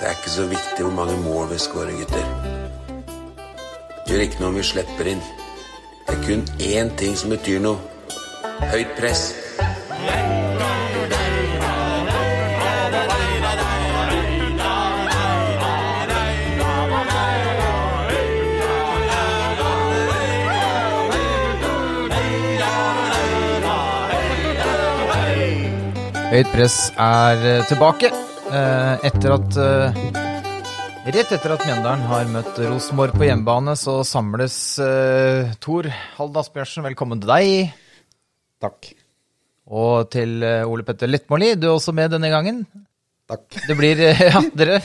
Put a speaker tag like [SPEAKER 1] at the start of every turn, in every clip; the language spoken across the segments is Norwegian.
[SPEAKER 1] Det er ikke så viktig hvor mange mål vi skårer, gutter. Det gjør ikke noe om vi slipper inn. Det er kun én ting som betyr noe. Høyt press.
[SPEAKER 2] Høyt press er eh, tilbake eh, etter at eh, Rett etter at Mjøndalen har møtt Rosenborg på hjemmebane, så samles eh, Tor Halden Asbjørnsen, velkommen til deg.
[SPEAKER 3] Takk.
[SPEAKER 2] Og til eh, Ole Petter Lettmoli, du er også med denne gangen.
[SPEAKER 3] Takk.
[SPEAKER 2] Det blir eh, ja, dere,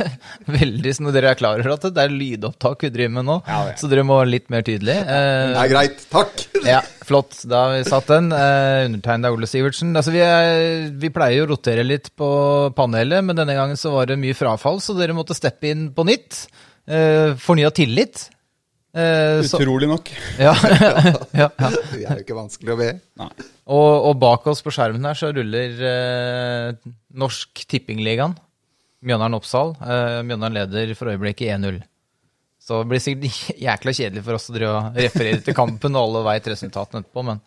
[SPEAKER 2] veldig sånn, dere er klar over at det er lydopptak vi driver med nå,
[SPEAKER 3] Ja, ja.
[SPEAKER 2] så dere må litt mer tydelig. Eh,
[SPEAKER 3] Det er greit. Takk!
[SPEAKER 2] Ja, flott. Da har vi satt den. Eh, Undertegnet av Ole Sivertsen. Altså, vi, er, vi pleier jo å rotere litt på panelet, men denne gangen så var det mye frafall, så dere måtte steppe inn på nytt. Eh, Fornya tillit. Eh, så,
[SPEAKER 3] Utrolig nok.
[SPEAKER 2] ja, ja, ja.
[SPEAKER 3] Det er jo ikke vanskelig å be.
[SPEAKER 4] Nei.
[SPEAKER 2] Og, og bak oss på skjermen her så ruller eh, Norsk Tippingligaen. Mjøndalen Oppsal. Eh, Mjøndalen leder for øyeblikket 1-0. Så det blir sikkert jækla kjedelig for oss å drive og referere til kampen, og alle veit resultatene etterpå, men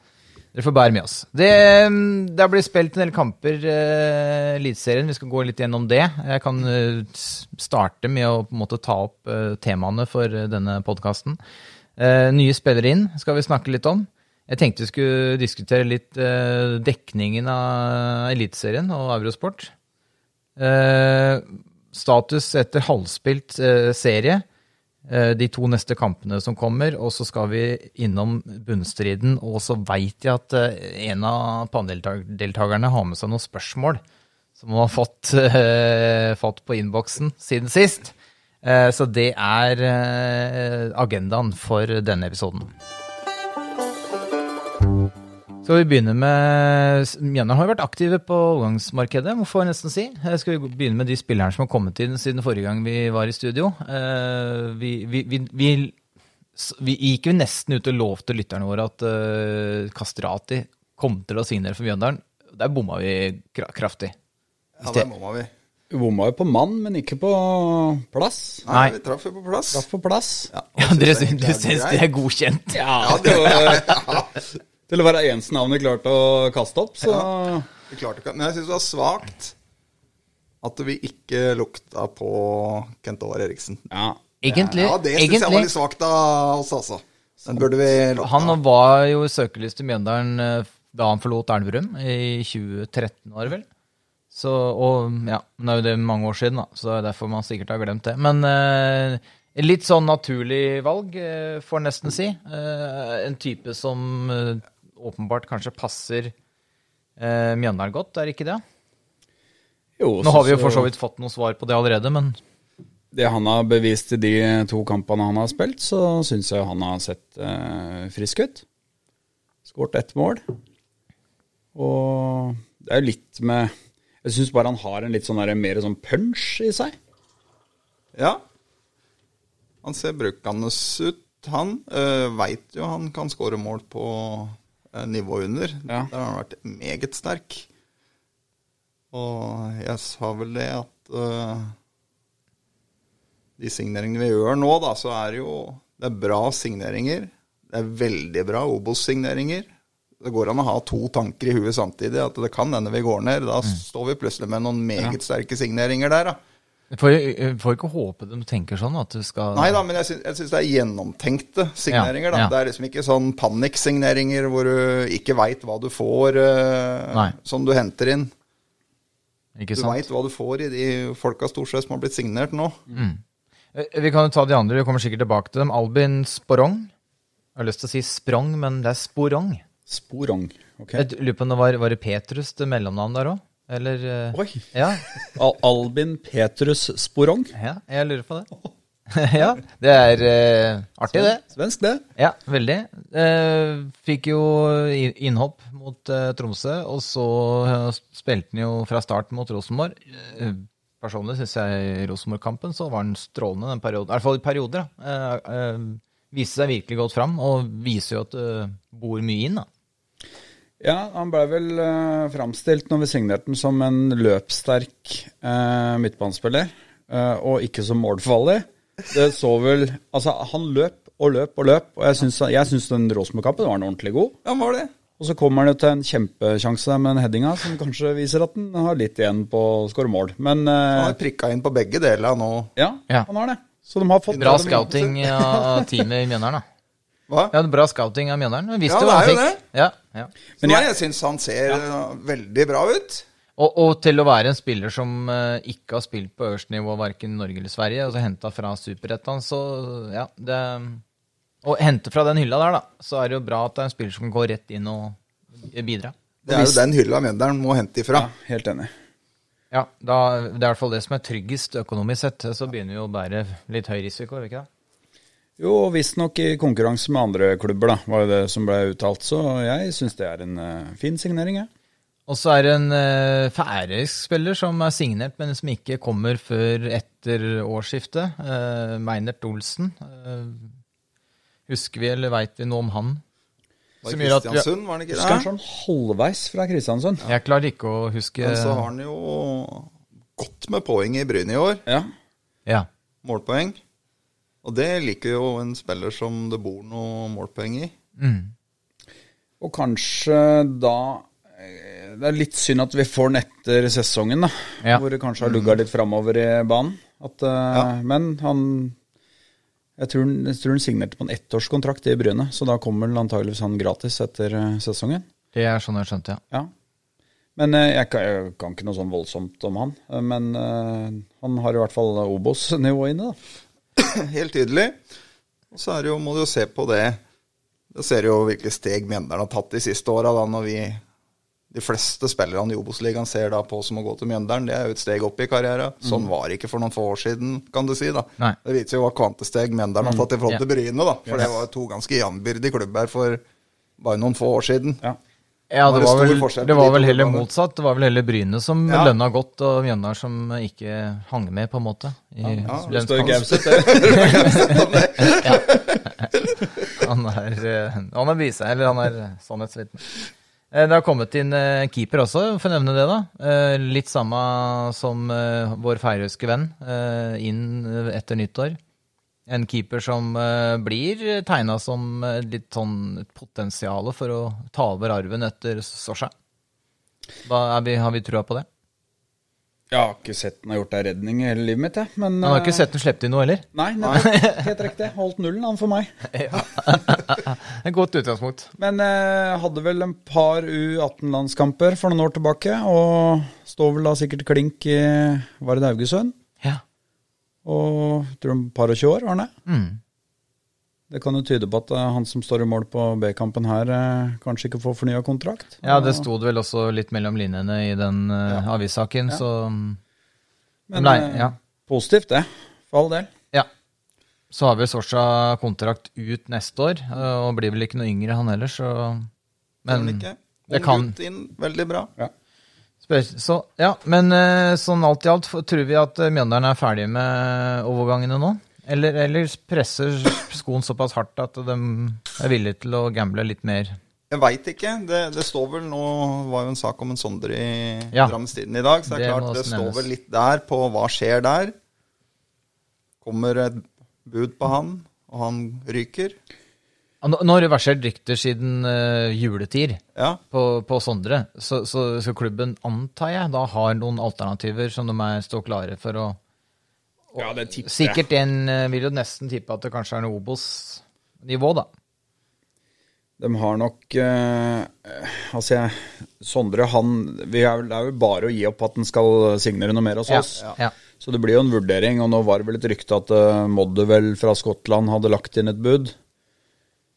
[SPEAKER 2] dere får bære med oss. Det, mm, det blir spilt en del kamper i eh, Eliteserien. Vi skal gå litt gjennom det. Jeg kan eh, s- starte med å på en måte ta opp eh, temaene for eh, denne podkasten. Eh, nye spillere inn skal vi snakke litt om. Jeg tenkte vi skulle diskutere litt eh, dekningen av Eliteserien og Eurosport. Eh, status etter halvspilt eh, serie. Eh, de to neste kampene som kommer, og så skal vi innom bunnstriden. Og så veit jeg at eh, en av paneldeltakerne har med seg noen spørsmål som hun har fått, eh, fått på innboksen siden sist. Eh, så det er eh, agendaen for denne episoden. Skal vi begynne med Mjøndalen har jo vært aktive på overgangsmarkedet, må får jeg nesten si. Eh, Skal vi begynne med de spillerne som har kommet inn siden forrige gang vi var i studio? Eh, Vi, vi, vi, vi, s- vi gikk jo nesten ut og lovte lytterne våre at eh, Kastrati kom til å signere for Mjøndalen. Der bomma vi kra- kraftig.
[SPEAKER 4] Ja, det må vi.
[SPEAKER 3] Bomma jo på mann, men ikke på plass.
[SPEAKER 2] Nei.
[SPEAKER 4] Nei, vi traff jo på plass.
[SPEAKER 3] Traff på plass. Ja,
[SPEAKER 2] Ja, dere syns dere syns det er
[SPEAKER 4] greit.
[SPEAKER 2] godkjent?
[SPEAKER 3] det var, til å være eneste navn vi klarte å kaste opp, så
[SPEAKER 4] Vi klarte ikke, men jeg syns det var svakt at vi ikke lukta på Kent Håvard Eriksen.
[SPEAKER 3] Ja.
[SPEAKER 2] Egentlig,
[SPEAKER 4] Ja, det syns jeg var
[SPEAKER 2] egentlig
[SPEAKER 4] litt svakt av oss, altså. Den burde vi lukta.
[SPEAKER 2] Han var jo i søkelyset i Mjøndalen eh, da han forlot Elverum i 2013, var det vel? Så, og ja, men det er jo det mange år siden, da, så det er derfor man sikkert har glemt det. Men eh, litt sånn naturlig valg, eh, får en nesten si. Eh, en type som eh, åpenbart kanskje passer eh, Mjøndalen godt, er det ikke det?
[SPEAKER 3] Jo,
[SPEAKER 2] Nå har vi jo for så vidt fått noen svar på det allerede, men
[SPEAKER 3] Det han har bevist i de to kampene han har spilt, så syns jeg han har sett eh, frisk ut. Skåret ett mål. Og det er jo litt med Jeg syns bare han har en litt sånn der, mer sånn punch i seg.
[SPEAKER 4] Ja. Han ser brukende ut, han. Uh, Veit jo han kan skåre mål på eh, nivå under.
[SPEAKER 3] Ja.
[SPEAKER 4] Der har han vært meget sterk. Og jeg sa vel det at eh, de signeringene vi gjør nå, da, så er det jo Det er bra signeringer. Det er veldig bra Obos-signeringer. Det går an å ha to tanker i huet samtidig. At det kan hende vi går ned. Da står vi plutselig med noen meget sterke signeringer der, da.
[SPEAKER 2] vi får, vi får ikke håpe de tenker sånn at du skal
[SPEAKER 4] Nei da, men jeg syns, jeg syns det er gjennomtenkte signeringer. da.
[SPEAKER 2] Ja, ja.
[SPEAKER 4] Det er liksom ikke sånn panikksigneringer hvor du ikke veit hva du får eh,
[SPEAKER 2] Nei.
[SPEAKER 4] som du henter inn.
[SPEAKER 2] ikke
[SPEAKER 4] Du
[SPEAKER 2] sant?
[SPEAKER 4] veit hva du får i de folka stort sett som har blitt signert nå.
[SPEAKER 2] Mm. Eh, Vi kan jo ta de andre, vi kommer sikkert tilbake til dem. Albin Sporong. Jeg har lyst til å si Sprong, men det er Sporong.
[SPEAKER 3] Sporong. ok.
[SPEAKER 2] Jeg lurer på om det var, var det Petrus til mellomnavn der òg? Eller eh,
[SPEAKER 3] Oi.
[SPEAKER 2] Ja,
[SPEAKER 3] Al Albin Petrus Sporong.
[SPEAKER 2] ja, jeg lurer på det. ja, det er eh, artig, det.
[SPEAKER 3] Svensk, det.
[SPEAKER 2] Ja, veldig. Eh, fikk jo i- innhopp mot eh, Tromsø, og så eh, spilte han jo fra start mot Rosenborg. Eh, personlig syns jeg i Rosenborg-kampen så var han strålende den perioden. I hvert fall i perioder, da. Eh, eh, viste seg virkelig godt fram, og viser jo at du bor mye inn, da.
[SPEAKER 3] Ja, han ble vel uh, framstilt når vi signerte den som en løpssterk eh, midtbanespiller. eh, og ikke som målfarlig. Det så vel Altså, han løp og løp og løp, og jeg syns, jeg syns den Rosenborg-kampen var en ordentlig god.
[SPEAKER 4] Ja, han var det.
[SPEAKER 3] Og så kommer han jo til en kjempesjanse der med den headinga, som kanskje viser at han har litt igjen på å skåre mål. Men
[SPEAKER 4] Han
[SPEAKER 3] eh,
[SPEAKER 4] har prikka inn på begge deler nå.
[SPEAKER 3] ja,
[SPEAKER 2] Ja.
[SPEAKER 3] han har det. Så de har fått
[SPEAKER 2] Bra
[SPEAKER 3] de-
[SPEAKER 2] scouting av teamet i Mjøndalen, da.
[SPEAKER 4] Hva?
[SPEAKER 2] Ja, bra scouting av Mjøndalen. Vi visste
[SPEAKER 4] Ja,
[SPEAKER 2] jo hva
[SPEAKER 4] det
[SPEAKER 2] han
[SPEAKER 4] er jo
[SPEAKER 2] fikk. Ja, ja.
[SPEAKER 4] Så
[SPEAKER 3] Men
[SPEAKER 4] nei,
[SPEAKER 3] jeg-
[SPEAKER 4] jeg syns han ser eh, veldig bra ut.
[SPEAKER 2] Og, og til å være en spiller som eh, ikke har spilt på øverste nivå verken i Norge eller Sverige, og så henta fra superettan, så ja det, Og hente fra den hylla der, da, så er det jo bra at det er en spiller som kan gå rett inn og bidra.
[SPEAKER 4] Det er jo den hylla Mjøndalen må hente ifra.
[SPEAKER 3] Ja, helt enig.
[SPEAKER 2] Ja, da, Det er i hvert fall det som er tryggest økonomisk sett. Så begynner vi å bære litt høy risiko, gjør vi ikke det?
[SPEAKER 3] Jo, og visstnok i konkurranse med andre klubber, da, var jo det som ble uttalt. Så jeg syns det er en eh, fin signering, jeg.
[SPEAKER 2] Og så er det en uh, færøysk spiller som er signert, men som ikke kommer før etter årsskiftet. eh, Meinert Olsen. Eh, husker vi eller veit vi noe om han?
[SPEAKER 4] Var
[SPEAKER 2] Som
[SPEAKER 4] det
[SPEAKER 2] gjør at vi-
[SPEAKER 4] Kristiansund, var han ikke
[SPEAKER 3] Husker han
[SPEAKER 4] det?
[SPEAKER 3] sånn halvveis fra Kristiansund.
[SPEAKER 2] Jeg klarer ikke å huske
[SPEAKER 4] Men så har han jo godt med poeng i Bryne i år.
[SPEAKER 3] Ja.
[SPEAKER 2] Ja.
[SPEAKER 4] målpoeng. Og det liker jo en spiller som det bor noe målpoeng i.
[SPEAKER 2] Mm.
[SPEAKER 3] Og kanskje da eh, Det er litt synd at vi får den etter sesongen, da.
[SPEAKER 2] Ja.
[SPEAKER 3] Hvor det kanskje har lugga litt framover i banen. At, eh, Men han jeg tror, han- jeg tror han signerte på en ettårskontrakt i Bryne, så da kommer han antageligvis han gratis etter eh, sesongen.
[SPEAKER 2] Det er sånn jeg skjønte, ja.
[SPEAKER 3] Ja. Men eh, jeg kan, jeg kan ikke noe sånn voldsomt om han. eh, Men eh, han har i hvert fall Obos-nivå inne, da.
[SPEAKER 4] Helt tydelig. Og så er det jo, må du jo se på det Da ser du jo hvilke steg Mjøndalen har tatt de siste åra, da, når vi de fleste spillerne i Obos-ligaen ser da på som å gå til Mjøndalen. Det er jo et steg opp i karrieren. Sånn var det ikke for noen få år siden, kan du si. da.
[SPEAKER 2] Nei.
[SPEAKER 4] Det viser jo hva kvantesteg Mjøndalen har tatt i forhold til Bryne, da. For det var jo to ganske jambyrdige klubber for bare noen få år siden.
[SPEAKER 3] Ja.
[SPEAKER 2] Ja, det
[SPEAKER 4] Var det
[SPEAKER 2] var
[SPEAKER 4] stor
[SPEAKER 2] vel,
[SPEAKER 4] forskjell på
[SPEAKER 2] det
[SPEAKER 4] de
[SPEAKER 2] var
[SPEAKER 4] to
[SPEAKER 2] vel heller
[SPEAKER 4] klubbene?
[SPEAKER 2] motsatt. Det var vel heller Bryne som
[SPEAKER 4] Ja.
[SPEAKER 2] lønna godt, og Mjøndalen som ikke hang med, på en måte. I
[SPEAKER 3] Det står
[SPEAKER 2] lønnskamp.
[SPEAKER 3] Gauseth, det.
[SPEAKER 2] Han er, eh, han er vise, eller han er sannhetsvitne. Eh, Det har kommet inn eh, keeper også, for å nevne det. da. Eh, Litt samme som eh, vår færøyske venn eh, inn eh, etter nyttår. En keeper som eh, blir tegna som eh, litt sånn potensial for å ta over arven etter Sosja. Da er vi, har vi trua på det.
[SPEAKER 3] Jeg har ikke sett han har gjort ei redning i hele livet mitt, jeg. Men
[SPEAKER 2] Han har ikke
[SPEAKER 3] eh,
[SPEAKER 2] sett den slippe inn noe heller.
[SPEAKER 3] Nei, nei, helt riktig. Holdt nullen, han for meg.
[SPEAKER 2] Et godt utgangspunkt.
[SPEAKER 3] Men eh, hadde vel en par U18-landskamper for noen år tilbake, og står vel da sikkert klink i Var det Haugesund?
[SPEAKER 2] Ja.
[SPEAKER 3] Og tror han par og tjue år, var han det?
[SPEAKER 2] Mm.
[SPEAKER 3] Det kan jo tyde på at eh, han som står i mål på B-kampen her, eh, kanskje ikke får fornya kontrakt.
[SPEAKER 2] Ja, det sto det vel også litt mellom linjene i den uh, avissaken, så mm,
[SPEAKER 3] Men
[SPEAKER 2] Nei,
[SPEAKER 3] eh,
[SPEAKER 2] ja.
[SPEAKER 3] positivt, det. For all del.
[SPEAKER 2] ja. Så har vel Sorsa kontrakt ut neste år, eh, og blir vel ikke noe yngre han heller, så Men
[SPEAKER 4] Men ikke?
[SPEAKER 2] det kan
[SPEAKER 4] Ung gutt inn, veldig bra.
[SPEAKER 2] spør, Så ja, men eh, sånn alt i alt, f- tror vi at eh, Mjøndalen er ferdig med overgangene nå? Eller, eller presser skoen såpass hardt at de er villige til å gamble litt mer?
[SPEAKER 4] Jeg veit ikke. Det, det står vel nå var jo en sak om en Sondre i
[SPEAKER 2] Ja.
[SPEAKER 4] Drammens Tidende i dag, så det
[SPEAKER 2] Det må
[SPEAKER 4] er klart det
[SPEAKER 2] også
[SPEAKER 4] står
[SPEAKER 2] nevnes.
[SPEAKER 4] vel litt der på hva skjer der. Kommer et bud på han, og han ryker.
[SPEAKER 2] Ja, Nå, nå har det versert rykter siden uh, juletid.
[SPEAKER 4] Ja.
[SPEAKER 2] på, på Sondre, så, så, så klubben antar jeg da har noen alternativer som de er, står klare for å
[SPEAKER 3] Ja, det tipper
[SPEAKER 2] Sikkert en eh, vil jo nesten tippe at det kanskje er noe Obos-nivå, da.
[SPEAKER 3] De har nok eh, Altså, jeg, Sondre, han vi er, vel- Det er jo bare å gi opp at han skal signere noe mer hos oss.
[SPEAKER 2] ja.
[SPEAKER 3] Så det blir jo en vurdering, og nå var det vel et rykte at uh, Modderwell fra Skottland hadde lagt inn et bud.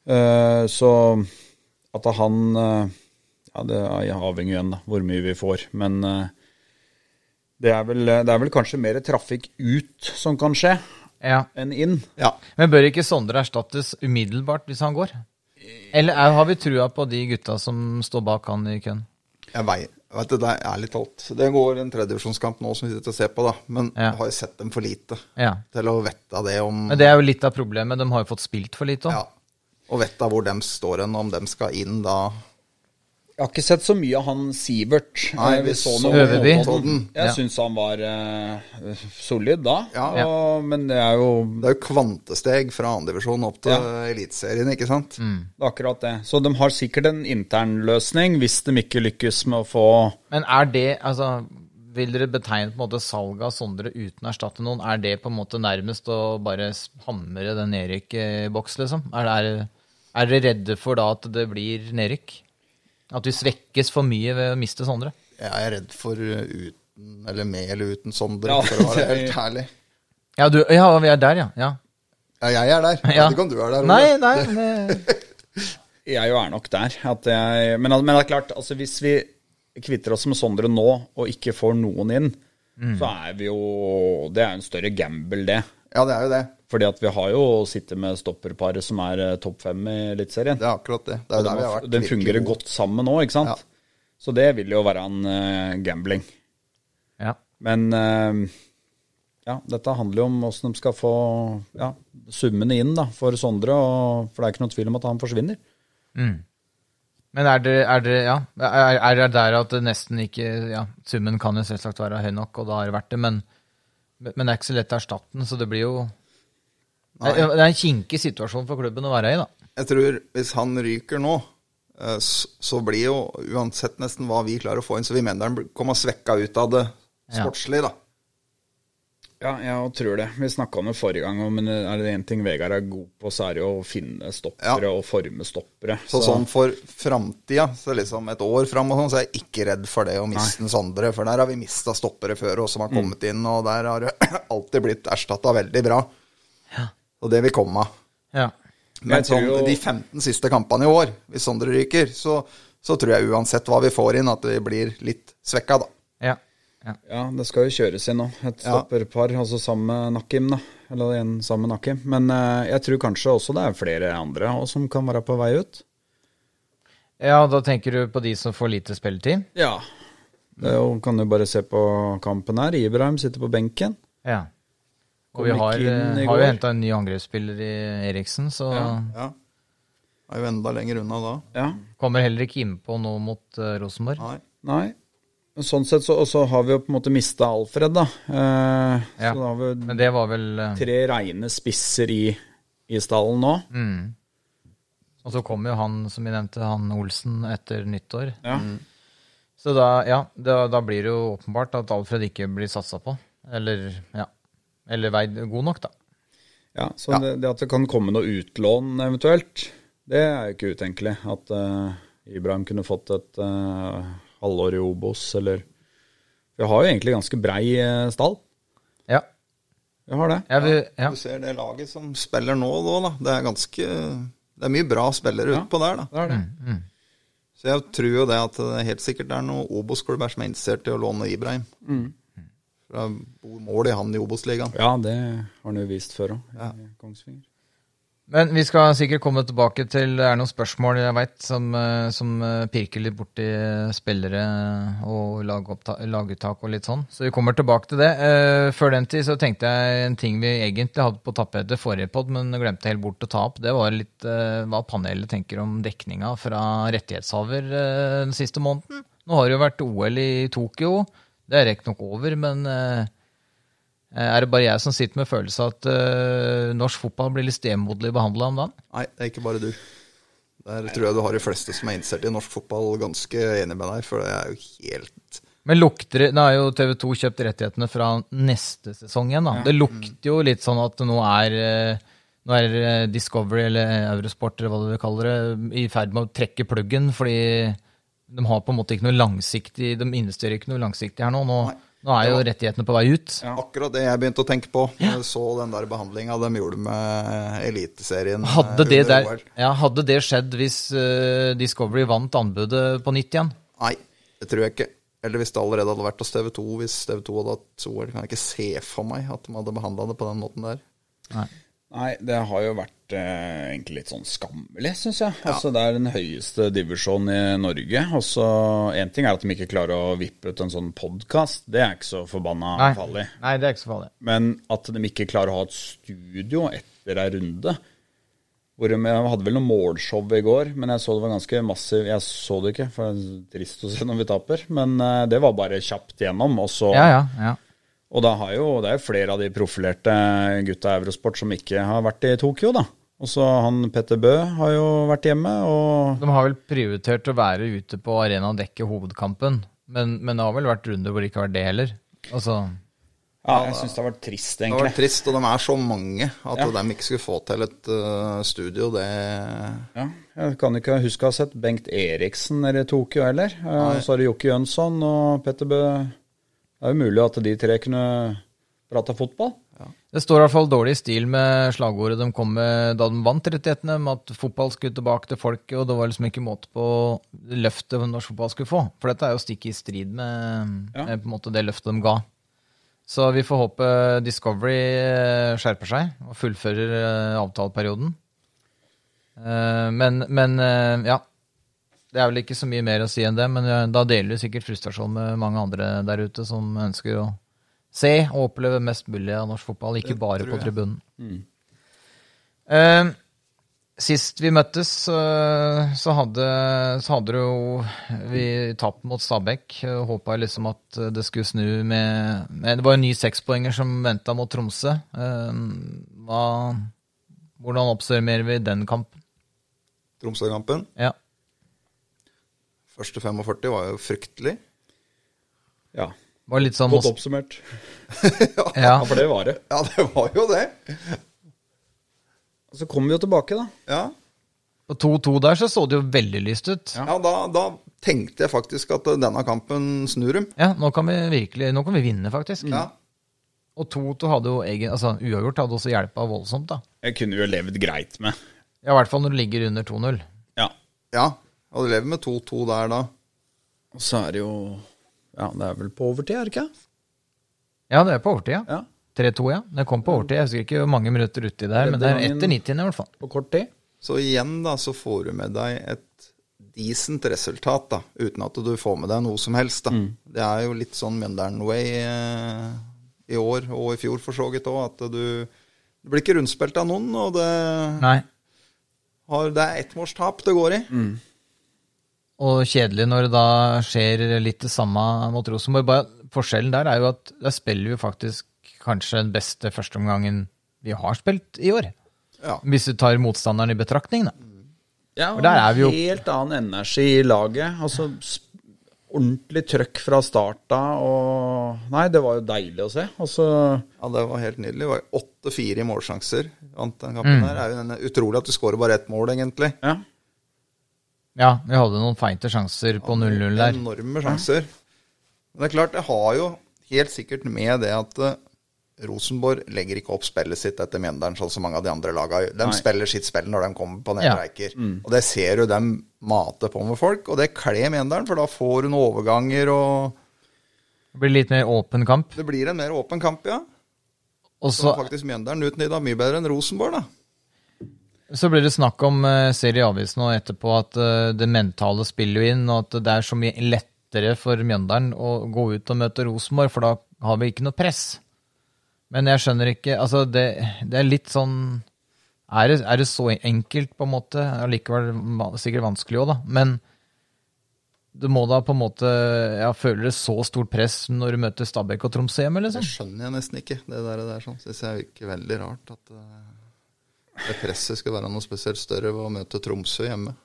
[SPEAKER 3] Eh, så at han eh, Ja, det er avhengig igjen, da, hvor mye vi får. Men eh, det, er vel, det er vel kanskje mer trafikk ut som kan skje,
[SPEAKER 2] ja.
[SPEAKER 3] enn inn.
[SPEAKER 4] ja.
[SPEAKER 2] Men bør ikke Sondre erstattes umiddelbart hvis han går? Eller er, har vi trua på de gutta som står bak han i køen?
[SPEAKER 4] Jeg vei- vet du, det er ærlig talt. Det går en tredjevisjonskamp nå som vi sitter og ser på, da. Men
[SPEAKER 2] Ja.
[SPEAKER 4] jeg har jo sett dem for lite
[SPEAKER 2] Ja.
[SPEAKER 4] til å vite det om
[SPEAKER 2] Men det er jo litt av problemet. De har jo fått spilt for lite òg.
[SPEAKER 4] Ja. Og vite hvor dem står hen, om dem skal inn da
[SPEAKER 3] Jeg har ikke sett så mye av han Sivert.
[SPEAKER 4] Nei,
[SPEAKER 3] Eh,
[SPEAKER 4] vi så
[SPEAKER 3] noe
[SPEAKER 2] Øverby.
[SPEAKER 3] på den. Jeg
[SPEAKER 2] Ja.
[SPEAKER 3] syns han var eh, solid da,
[SPEAKER 4] Ja.
[SPEAKER 3] og, men det er jo
[SPEAKER 4] Det er jo kvantesteg fra andredivisjon opp til
[SPEAKER 3] Ja.
[SPEAKER 4] Eliteserien, ikke
[SPEAKER 2] Mm.
[SPEAKER 4] sant?
[SPEAKER 3] det er akkurat det. Så de har sikkert en internløsning hvis de ikke lykkes med å få
[SPEAKER 2] Men er det altså, Vil dere betegne på en måte salget av Sondre uten å erstatte noen? Er det på en måte nærmest å bare s- hamre den nedrykkboks, liksom? Er, det- er, er dere redde for da at det blir nedrykk? At vi svekkes for mye ved å miste Sondre?
[SPEAKER 4] Jeg er redd for uh, uten, eller med eller uten Sondre,
[SPEAKER 3] Ja,
[SPEAKER 4] for å være
[SPEAKER 3] det er-
[SPEAKER 4] helt ærlig.
[SPEAKER 2] Ja, du, ja vi er der, ja. ja.
[SPEAKER 4] Ja, jeg er der. Jeg
[SPEAKER 2] ja.
[SPEAKER 4] vet ikke om du er der. Ole.
[SPEAKER 2] Nei, nei, det,
[SPEAKER 3] Jeg jo er nok der. At jeg, men, men det er klart, altså, hvis vi kvitter oss med Sondre nå og ikke får noen inn, så er vi jo Det er jo en større gamble, det.
[SPEAKER 4] Ja, det er jo det.
[SPEAKER 3] Fordi at vi har jo sittet med stopperparet som er eh, topp fem i Eliteserien.
[SPEAKER 4] Det er akkurat det. Det er jo der vi har vært.
[SPEAKER 3] Den
[SPEAKER 4] virkelig
[SPEAKER 3] fungerer
[SPEAKER 4] gode.
[SPEAKER 3] godt sammen nå, ikke sant?
[SPEAKER 4] Ja.
[SPEAKER 3] Så det vil jo være en eh, gambling.
[SPEAKER 2] ja.
[SPEAKER 3] Men eh, ja, dette handler jo om åssen de skal få ja, summene inn da, for Sondre. Og, for det er ikke noen tvil om at han forsvinner.
[SPEAKER 2] Men er dere, er dere ja, er, er det der at det nesten ikke ja, Summen kan jo selvsagt være høy nok, og da har det vært det, men, men det er ikke så lett å erstatte den, så det blir jo
[SPEAKER 4] Nei.
[SPEAKER 2] Det er en kinkig situasjon for klubben å være i, da.
[SPEAKER 4] Jeg tror hvis han ryker nå, eh, s- så blir jo uansett nesten hva vi klarer å få inn, så vi mener han bl- kommer svekka ut av det
[SPEAKER 2] Ja.
[SPEAKER 4] sportslig, da.
[SPEAKER 3] Ja, jeg tror det. Vi snakka om det forrige gang, men eh, er det én ting Vegard er god på, så er det jo å finne stoppere og forme stoppere.
[SPEAKER 4] Så sånn for framtida, så liksom et år fram og sånn, så er jeg ikke redd for det å miste en Sondre. For der har vi mista stoppere før oss som har
[SPEAKER 3] Mm.
[SPEAKER 4] kommet inn, og der har det alltid blitt erstatta veldig bra. Og det vil komme av.
[SPEAKER 2] Ja.
[SPEAKER 4] Men
[SPEAKER 3] Jeg tror
[SPEAKER 4] sånn,
[SPEAKER 3] jo-
[SPEAKER 4] de 15 siste kampene i år, hvis Sondre ryker, så, så tror jeg uansett hva vi får inn, at vi blir litt svekka, da.
[SPEAKER 2] ja. ja.
[SPEAKER 3] Ja, det skal jo kjøres inn nå. Et
[SPEAKER 4] Ja.
[SPEAKER 3] stopperpar, altså sammen med Nakim, da. Eller en sammen med Nakim. Men eh, jeg tror kanskje også det er flere andre også som kan være på vei ut.
[SPEAKER 2] Ja, da tenker du på de som får lite spilletid?
[SPEAKER 3] Ja. Det er jo, kan du bare se på kampen her. Ibrahim sitter på benken.
[SPEAKER 2] Ja. Og
[SPEAKER 3] Kom
[SPEAKER 2] vi
[SPEAKER 3] ikke
[SPEAKER 2] har,
[SPEAKER 3] inn
[SPEAKER 2] eh,
[SPEAKER 3] i
[SPEAKER 2] har
[SPEAKER 3] går.
[SPEAKER 2] jo henta en ny angrepsspiller i Eriksen, så
[SPEAKER 4] Ja. Er jo enda lenger unna da.
[SPEAKER 3] Ja.
[SPEAKER 2] kommer heller ikke innpå noe mot eh, Rosenborg.
[SPEAKER 4] Nei.
[SPEAKER 3] Nei. Sånn sett så, og så har vi jo på en måte mista Alfred, da. Eh,
[SPEAKER 2] Ja.
[SPEAKER 3] Så da har vi
[SPEAKER 2] Men det var vel eh,
[SPEAKER 3] tre reine spisser i, i stallen nå.
[SPEAKER 2] mm. Og så kom jo han, som vi nevnte, han Olsen etter nyttår.
[SPEAKER 3] Ja.
[SPEAKER 2] Så da, ja, da, da blir det jo åpenbart at Alfred ikke blir satsa på. Eller, ja. Eller veid god nok, da.
[SPEAKER 3] Ja, så
[SPEAKER 4] Ja.
[SPEAKER 3] Det, det at det kan komme noe utlån eventuelt, det er jo ikke utenkelig. At eh, Ibrahim kunne fått et eh, halvår i Obos, eller Vi har jo egentlig ganske brei eh, stall.
[SPEAKER 2] Ja.
[SPEAKER 3] Vi har det.
[SPEAKER 2] Jeg vil, ja.
[SPEAKER 4] Du ser det laget som spiller nå, da, da. Det er ganske Det er mye bra spillere utpå der, da.
[SPEAKER 3] Det er det.
[SPEAKER 2] Mm.
[SPEAKER 4] Så jeg tror jo det at det helt sikkert er noen Obos-klubber som er interessert i å låne Ibrahim.
[SPEAKER 2] Mm.
[SPEAKER 4] Fra hvor mål i han i Obos-ligaen.
[SPEAKER 3] Mm. Ja, det har han jo vist før òg,
[SPEAKER 4] Ja.
[SPEAKER 3] i Kongsvinger.
[SPEAKER 2] Men vi skal sikkert komme tilbake til Det er noen spørsmål jeg veit som, eh, som eh, pirker litt borti spillere og lagoppta- laguttak og litt sånn. Så vi kommer tilbake til det. Eh, Før den tid så tenkte jeg en ting vi egentlig hadde på tapetet forrige pod, men glemte helt bort å ta opp. Det var litt eh, hva panelet tenker om dekninga fra rettighetshaver eh, den siste måneden. Nå har det jo vært OL i Tokyo. Det er riktignok over, men eh, Eh, Er det bare jeg som sitter med følelsen at eh, norsk fotball blir litt stemoderlig behandla om dagen?
[SPEAKER 4] Nei, det er ikke bare du. Der tror jeg du har de fleste som er interessert i norsk fotball, ganske enig med deg, for det er jo helt
[SPEAKER 2] Men lukter det Nå har jo TV2 kjøpt rettighetene fra neste sesong igjen, da. Det lukter jo litt sånn at nå er eh, nå er eh, Discovery eller Eurosport eller hva du vil kalle det, i ferd med å trekke pluggen, fordi de har på en måte ikke noe langsiktig De investerer ikke noe langsiktig her nå. Nå,
[SPEAKER 4] Nei.
[SPEAKER 2] nå er jo rettighetene på vei ut.
[SPEAKER 4] Akkurat det jeg begynte å tenke på. Jeg så den der behandlinga de gjorde med Eliteserien. eh,
[SPEAKER 2] Hadde det,
[SPEAKER 4] under
[SPEAKER 2] der,
[SPEAKER 4] OL.
[SPEAKER 2] ja, hadde det skjedd hvis eh, Discovery vant anbudet på nytt igjen?
[SPEAKER 4] Nei, det tror jeg ikke. Eller hvis det allerede hadde vært hos TV 2. Hvis TV 2 hadde hatt OL, kan jeg ikke se for meg at de hadde behandla det på den måten der.
[SPEAKER 2] Nei.
[SPEAKER 3] Nei, det har jo vært eh, egentlig litt sånn skammelig, syns jeg. Altså, Det er den høyeste divisjonen i Norge. Og så Én ting er at de ikke klarer å vippe ut en sånn podkast, det er ikke så forbanna
[SPEAKER 2] Nei.
[SPEAKER 3] farlig.
[SPEAKER 2] Nei, det er ikke så farlig.
[SPEAKER 3] Men at de ikke klarer å ha et studio etter ei runde, Hvor de jeg hadde vel noe målshow i går, men jeg så det var ganske massiv Jeg så det ikke, for det er trist å se når vi taper. Men eh, det var bare kjapt gjennom. Og, så,
[SPEAKER 2] Ja, ja. ja.
[SPEAKER 3] og da har jo, det er jo flere av de profilerte gutta i Eurosport som ikke har vært i Tokyo, da. Og så han Petter Bø har jo vært hjemme, og
[SPEAKER 2] De har vel prioritert å være ute på arenaen og dekke hovedkampen, men, men det har vel vært runder hvor det ikke har vært det heller. Altså,
[SPEAKER 3] ja, jeg syns det har vært trist,
[SPEAKER 4] Det var
[SPEAKER 3] egentlig.
[SPEAKER 4] trist, og de er så mange at de ikke skulle få til et eh, studio. Det
[SPEAKER 3] Ja, jeg kan ikke huske å ha sett Bengt Eriksen nede i Tokyo heller. Eh, Så er det Jokke Jønsson og Petter Bø. Det er jo mulig at de tre kunne prata fotball.
[SPEAKER 2] det står i hvert fall dårlig i stil med slagordet de kom med da de vant rettighetene, med at fotball skulle tilbake til folket, og det var liksom ikke måte på løftet norsk fotball skulle få. For dette er jo stikk i strid med,
[SPEAKER 3] Ja.
[SPEAKER 2] med på en måte det løftet de ga. Så vi får håpe Discovery eh, skjerper seg og fullfører eh, avtaleperioden. Eh, Men, men eh, ja. Det er vel ikke så mye mer å si enn det, men eh, da deler vi sikkert frustrasjon med mange andre der ute som ønsker å se og oppleve mest mulig av norsk fotball, ikke bare på tribunen. Eh, Sist vi møttes, eh, så hadde, så hadde det jo vi tapt mot Stabæk. og Håpa liksom at det skulle snu med, med Det var en ny sekspoenger som venta mot Tromsø. Eh, Hva, hvordan oppsummerer vi den kampen?
[SPEAKER 4] Tromsø-kampen,
[SPEAKER 2] Ja.
[SPEAKER 4] første 45, var jo fryktelig.
[SPEAKER 3] Ja,
[SPEAKER 2] Var litt sånn
[SPEAKER 3] Godt
[SPEAKER 2] Mos-
[SPEAKER 3] oppsummert.
[SPEAKER 2] ja.
[SPEAKER 3] Ja, for det var det.
[SPEAKER 4] Ja, det var jo det.
[SPEAKER 3] Så kommer vi jo tilbake, da.
[SPEAKER 4] Ja,
[SPEAKER 2] På 2-2 der så så det jo veldig lyst ut. Ja.
[SPEAKER 4] ja da, da tenkte jeg faktisk at eh, denne kampen snur dem.
[SPEAKER 2] nå kan vi virkelig Nå kan vi vinne, faktisk.
[SPEAKER 4] Ja.
[SPEAKER 2] Og 2-2 hadde jo egen Altså, uavgjort hadde også hjelpa voldsomt, da.
[SPEAKER 3] Jeg kunne jo levd greit med.
[SPEAKER 2] Ja, I hvert fall når du ligger under 2-0.
[SPEAKER 3] Ja.
[SPEAKER 4] ja. Og det lever med 2-2 der da.
[SPEAKER 3] Og så er det jo Ja, det er vel på overtid, er det ikke?
[SPEAKER 2] Ja, det er på overtid, ja.
[SPEAKER 3] Ja.
[SPEAKER 2] 3-2, ja. Det kom på overtid. Jeg husker ikke hvor mange minutter uti der, men det er etter 90 i hvert fall.
[SPEAKER 3] På kort tid.
[SPEAKER 4] Så igjen da, så får du med deg et decent resultat da, uten at du får med deg noe som helst da. Det er jo litt sånn Mjøndalen Way eh, i år, og i fjor for så vidt òg, at du, du blir ikke rundspilt av noen, og det,
[SPEAKER 2] Nei.
[SPEAKER 4] har, det er ettmålstap det går i.
[SPEAKER 2] Og kjedelig når det da skjer litt det samme mot Rosenborg. Bare forskjellen der er jo at der spiller vi faktisk kanskje den beste førsteomgangen vi har spilt i år.
[SPEAKER 4] Ja.
[SPEAKER 2] Hvis du tar motstanderen i betraktning, da.
[SPEAKER 3] Ja,
[SPEAKER 2] For der er vi jo-
[SPEAKER 3] Helt annen energi i laget. Altså sp- ordentlig trøkk fra starta og Nei, det var jo deilig å se. Altså
[SPEAKER 4] Ja, det var helt nydelig. Det var jo 8-4 i målsjanser. Vant den kampen der. Det er jo denne, utrolig at du skårer bare ett mål, egentlig.
[SPEAKER 3] Ja.
[SPEAKER 2] Ja, vi hadde noen feite sjanser på 0-0 der.
[SPEAKER 4] Enorme sjanser. Men det er klart, det har jo helt sikkert med det at eh, Rosenborg legger ikke opp spillet sitt etter Mjøndalen, sånn som mange av de andre lagene. gjør. De spiller sitt spill når de kommer på
[SPEAKER 2] Ja.
[SPEAKER 4] nedreiker. Og det ser du dem mater på med folk, og det kler Mjøndalen, for da får hun overganger, og
[SPEAKER 2] Det blir litt mer åpen kamp.
[SPEAKER 4] det blir en mer åpen kamp, ja.
[SPEAKER 2] Og
[SPEAKER 4] Så
[SPEAKER 2] så,
[SPEAKER 4] faktisk Mjøndalen utnytta mye bedre enn Rosenborg, da.
[SPEAKER 2] så blir det snakk om uh, serie avisen og etterpå at eh, det mentale spiller jo inn, og at det er så mye lettere for Mjøndalen å gå ut og møte Rosenborg, for da har vi ikke noe press. Men jeg skjønner ikke Altså, det, det er litt sånn er det, er det så enkelt, på en måte? Allikevel va- sikkert vanskelig òg, da. Men du må da på en måte Ja, føler det så stort press når du møter Stabæk og Tromsø hjemme,
[SPEAKER 4] Det
[SPEAKER 2] liksom?
[SPEAKER 4] skjønner jeg nesten ikke. Det der, det der sånn. Syns jeg virker veldig rart at eh, det presset skal være noe spesielt større ved å møte Tromsø hjemme.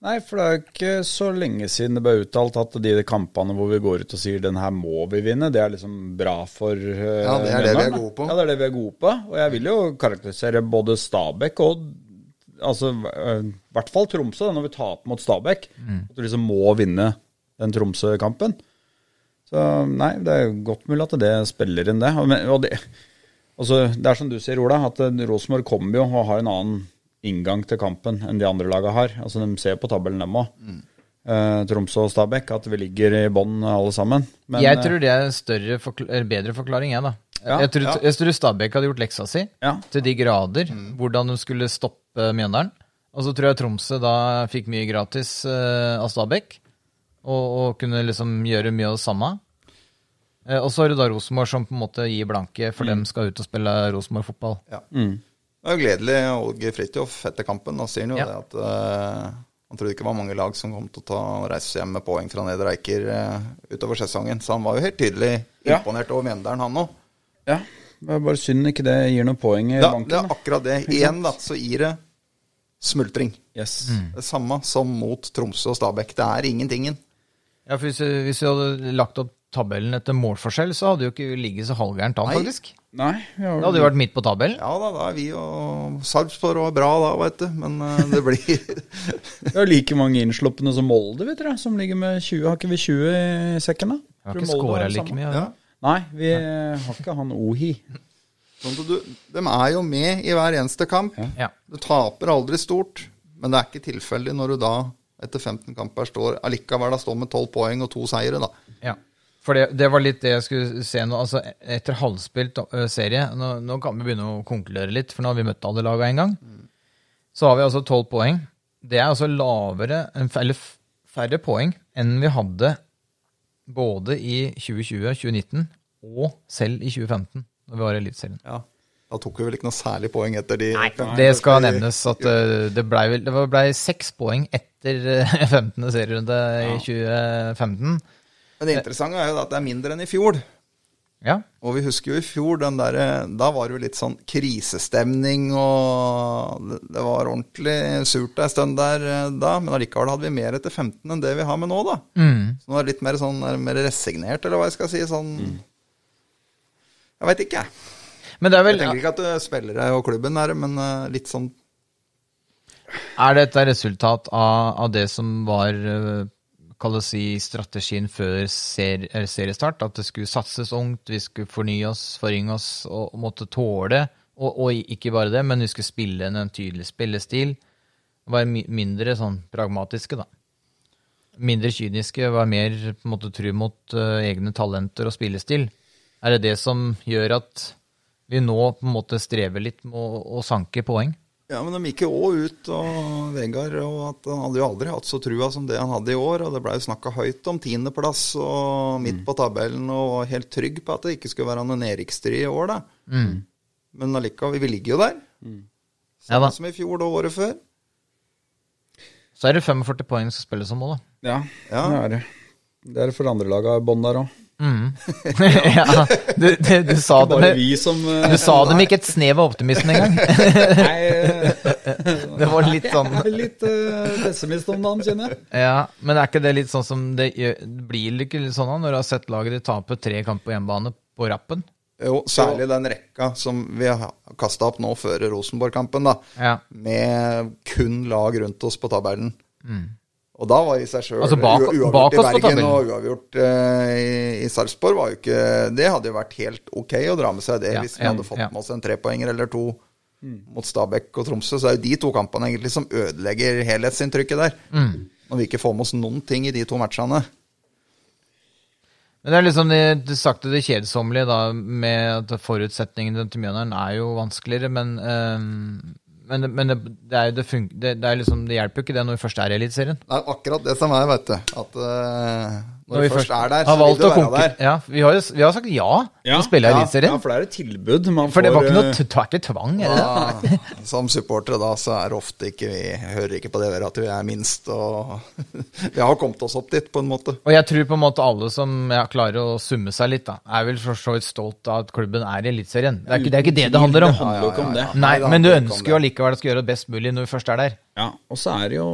[SPEAKER 3] Nei, for det er jo ikke så lenge siden det ble uttalt at de kampene hvor vi går ut og sier 'den her må vi vinne', det er liksom bra for eh,
[SPEAKER 4] Ja, det er det vi er
[SPEAKER 3] Mjøndalen, da.
[SPEAKER 4] gode på.
[SPEAKER 3] Ja, det er det vi er gode på. Og jeg vil jo karakterisere både Stabæk og altså, eh, i hvert fall Tromsø, da, når vi taper mot Stabæk.
[SPEAKER 4] Mm.
[SPEAKER 3] At du liksom må vinne den Tromsø-kampen. Så nei, det er jo godt mulig at det spiller inn det. Og, men- og det altså, det er som du sier, Ola, at eh, Rosenborg kommer jo og har en annen inngang til kampen enn de andre lagene har. Altså, De ser på tabellen, dem òg.
[SPEAKER 2] Mm.
[SPEAKER 3] Eh, Tromsø og Stabæk, at vi ligger i bånn alle sammen. Men,
[SPEAKER 2] jeg
[SPEAKER 3] eh,
[SPEAKER 2] tror det er en større forkl eller bedre forklaring, jeg, da.
[SPEAKER 3] Ja,
[SPEAKER 2] jeg, tror, jeg tror Stabæk hadde gjort leksa si
[SPEAKER 3] Ja.
[SPEAKER 2] til de grader, hvordan de skulle stoppe Mjøndalen. Og så tror jeg Tromsø da fikk mye gratis eh, av Stabæk, og, og kunne liksom gjøre mye av det samme. Mm. Eh, og så har du da Rosenborg som på en måte gir blanke, for dem skal ut og spille Rosenborg-fotball.
[SPEAKER 4] Ja. Det er jo gledelig. Åge Fridtjof etter kampen da sier han jo
[SPEAKER 2] Ja.
[SPEAKER 4] det at eh, han trodde ikke det var mange lag som kom til å ta reise hjem med poeng fra Nedre Eiker eh, utover sesongen. Så han var jo helt tydelig
[SPEAKER 3] Ja.
[SPEAKER 4] imponert over Mjøndalen, han òg.
[SPEAKER 3] eh, Ja, det er bare synd ikke det gir noen poeng i
[SPEAKER 4] Ja, det
[SPEAKER 3] banken.
[SPEAKER 4] er
[SPEAKER 3] Da.
[SPEAKER 4] akkurat det. Igjen da, så gir det smultring.
[SPEAKER 3] Yes.
[SPEAKER 2] Mm.
[SPEAKER 4] Det samme som mot Tromsø og Stabæk. Det er ingentingen.
[SPEAKER 2] Ja, for hvis, du- hvis du hadde lagt opp tabellen etter målforskjell, så hadde jo ikke vi ligget så halvgærent an,
[SPEAKER 4] Nei.
[SPEAKER 2] faktisk.
[SPEAKER 3] Nei, vi har
[SPEAKER 2] Det hadde jo vært midt på tabellen.
[SPEAKER 4] Ja da, da er vi og Sarpsborg var bra da, veit du. Men eh, det blir
[SPEAKER 3] Vi har like mange innslupne som Molde, vet dere, som ligger med 20. Har ikke vi 20 i sekken, da?
[SPEAKER 2] Vi har
[SPEAKER 3] Tror
[SPEAKER 2] ikke
[SPEAKER 3] Molde
[SPEAKER 2] skåra
[SPEAKER 3] det
[SPEAKER 2] like
[SPEAKER 3] samme.
[SPEAKER 2] mye.
[SPEAKER 4] ja.
[SPEAKER 3] Nei, vi eh, har ikke han Ohi.
[SPEAKER 4] sånn at du, De er jo med i hver eneste kamp.
[SPEAKER 2] Ja.
[SPEAKER 4] Du taper aldri stort, men det er ikke tilfeldig når du da etter 15 kamper står allikevel da står med 12 poeng og to seire, da.
[SPEAKER 2] Ja. For det, det var litt det jeg skulle se nå. Altså, etter halvspilt ø, serie nå, nå kan vi begynne å konkludere litt, for nå har vi møtt alle laga én gang. Så har vi altså tolv poeng. Det er altså lavere, en f- eller f- færre poeng enn vi hadde både i 2020, 2019 og selv i 2015, når vi var i Eliteserien.
[SPEAKER 4] Da tok vi vel ikke noe særlig poeng etter de fem
[SPEAKER 2] Det
[SPEAKER 4] første
[SPEAKER 2] skal
[SPEAKER 4] i-
[SPEAKER 2] nevnes at eh, det blei vel Det var- blei seks poeng etter eh, 15. serierunde i 2015.
[SPEAKER 4] Men det interessante er jo da at det er mindre enn i fjor.
[SPEAKER 2] Ja.
[SPEAKER 4] Og vi husker jo i fjor den der, Da var det jo litt sånn krisestemning, og det- det var ordentlig surt en stund der eh, da. Men allikevel hadde vi mer etter 15 enn det vi har med nå, da.
[SPEAKER 2] Mm.
[SPEAKER 4] Så nå er det litt mer sånn er det mer resignert, eller hva jeg skal si. Sånn Jeg veit ikke, jeg.
[SPEAKER 2] Men det er
[SPEAKER 4] Jeg
[SPEAKER 2] vel
[SPEAKER 4] tenker ikke at eh, spillere og klubben er det, men eh, litt sånn
[SPEAKER 2] Er dette resultat av, av det som var eh, Kall det si strategien før ser, eller seriestart? At det skulle satses ungt, vi skulle fornye oss, forynge oss og, og måtte tåle. Og, og ikke bare det, men vi skulle spille en, en tydelig spillestil. Være mi mindre sånn pragmatiske, da. Mindre kyniske, være mer på en måte tru mot eh, egne talenter og spillestil. Er det det som gjør at vi nå på en måte strever litt med å, å sanke poeng?
[SPEAKER 4] Ja, men de gikk jo òg ut, og Vegard og at Han hadde jo aldri hatt så trua som det han hadde i år. og Det blei snakka høyt om tiendeplass og midt på tabellen, og var helt trygg på at det ikke skulle være noe nedrykkstrid i år. da. Men allikevel, vi ligger jo der.
[SPEAKER 2] Mm. Ja
[SPEAKER 4] Samme
[SPEAKER 2] da.
[SPEAKER 4] som i fjor og året før.
[SPEAKER 2] Så er det 45 poeng som spilles om òg, da.
[SPEAKER 3] Ja,
[SPEAKER 4] Ja.
[SPEAKER 3] det er det. Det er det for andre laga i bånn der òg.
[SPEAKER 2] Mm. ja, du, du, du sa det
[SPEAKER 3] Bare
[SPEAKER 2] med
[SPEAKER 3] vi som eh,
[SPEAKER 2] du sa det med ikke et snev av optimisme engang.
[SPEAKER 3] Nei, eh,
[SPEAKER 2] Det var litt sånn
[SPEAKER 3] jeg er litt eh, pessimist om dagen, kjenner jeg.
[SPEAKER 2] Ja, Men er ikke det litt sånn som det gjør- blir det ikke litt sånn da, når du har sett laget ditt tape tre kamper på hjemmebane på rappen?
[SPEAKER 4] Jo, særlig den rekka som vi har kasta opp nå før Rosenborg-kampen, da.
[SPEAKER 2] Ja.
[SPEAKER 4] Med kun lag rundt oss på tabellen.
[SPEAKER 2] Mm.
[SPEAKER 4] Og da var i seg sjøl
[SPEAKER 2] Altså bak-
[SPEAKER 4] uavgjort
[SPEAKER 2] bak
[SPEAKER 4] i
[SPEAKER 2] oss på
[SPEAKER 4] Bergen
[SPEAKER 2] tabellen.
[SPEAKER 4] og uavgjort eh, i, i Sarpsborg var jo ikke Det hadde jo vært helt ok å dra med seg det
[SPEAKER 2] Ja,
[SPEAKER 4] hvis vi
[SPEAKER 2] ja,
[SPEAKER 4] hadde fått
[SPEAKER 2] ja. Mm.
[SPEAKER 4] med oss en trepoenger eller to mot Stabæk og Tromsø. Så er jo de to kampene egentlig som ødelegger helhetsinntrykket der.
[SPEAKER 2] Mm.
[SPEAKER 4] Når vi ikke får med oss noen ting i de to matchene.
[SPEAKER 2] Men det er liksom det, det sakte det kjedsommelige da, med at forutsetningene til Mjøndalen er jo vanskeligere, men øhm, men, det- men det, det er jo det, fun det, det, er liksom, det hjelper jo ikke det når vi først er i Eliteserien.
[SPEAKER 4] Det er akkurat det som er, vet du. At eh, når, vi først er der,
[SPEAKER 2] har
[SPEAKER 4] så vil
[SPEAKER 2] valgt
[SPEAKER 4] du
[SPEAKER 2] å
[SPEAKER 4] være
[SPEAKER 2] konkur-
[SPEAKER 4] der.
[SPEAKER 2] Ja, vi har jo s- vi har sagt ja, til å spille i Eliteserien.
[SPEAKER 3] Ja, for det er et tilbud. Man
[SPEAKER 2] For det var
[SPEAKER 3] får,
[SPEAKER 2] ikke noe
[SPEAKER 3] eh,
[SPEAKER 2] t- det er ikke tvang, er det det?
[SPEAKER 4] Ja, som supportere da, så er det ofte ikke vi hører ikke på det der at vi er minst, og vi har kommet oss opp dit på en måte.
[SPEAKER 2] Og jeg tror på en måte alle som ja, klarer å summe seg litt, da, er vel for så vidt stolt av at klubben er i Eliteserien. Det, er ikke- det er ikke det det handler om.
[SPEAKER 3] Det handler jo ikke om det.
[SPEAKER 2] Nei,
[SPEAKER 4] det
[SPEAKER 2] men du
[SPEAKER 4] handler ikke om
[SPEAKER 2] ønsker jo allikevel å skulle gjøre det best mulig når vi først er der.
[SPEAKER 3] Ja, og så er det jo,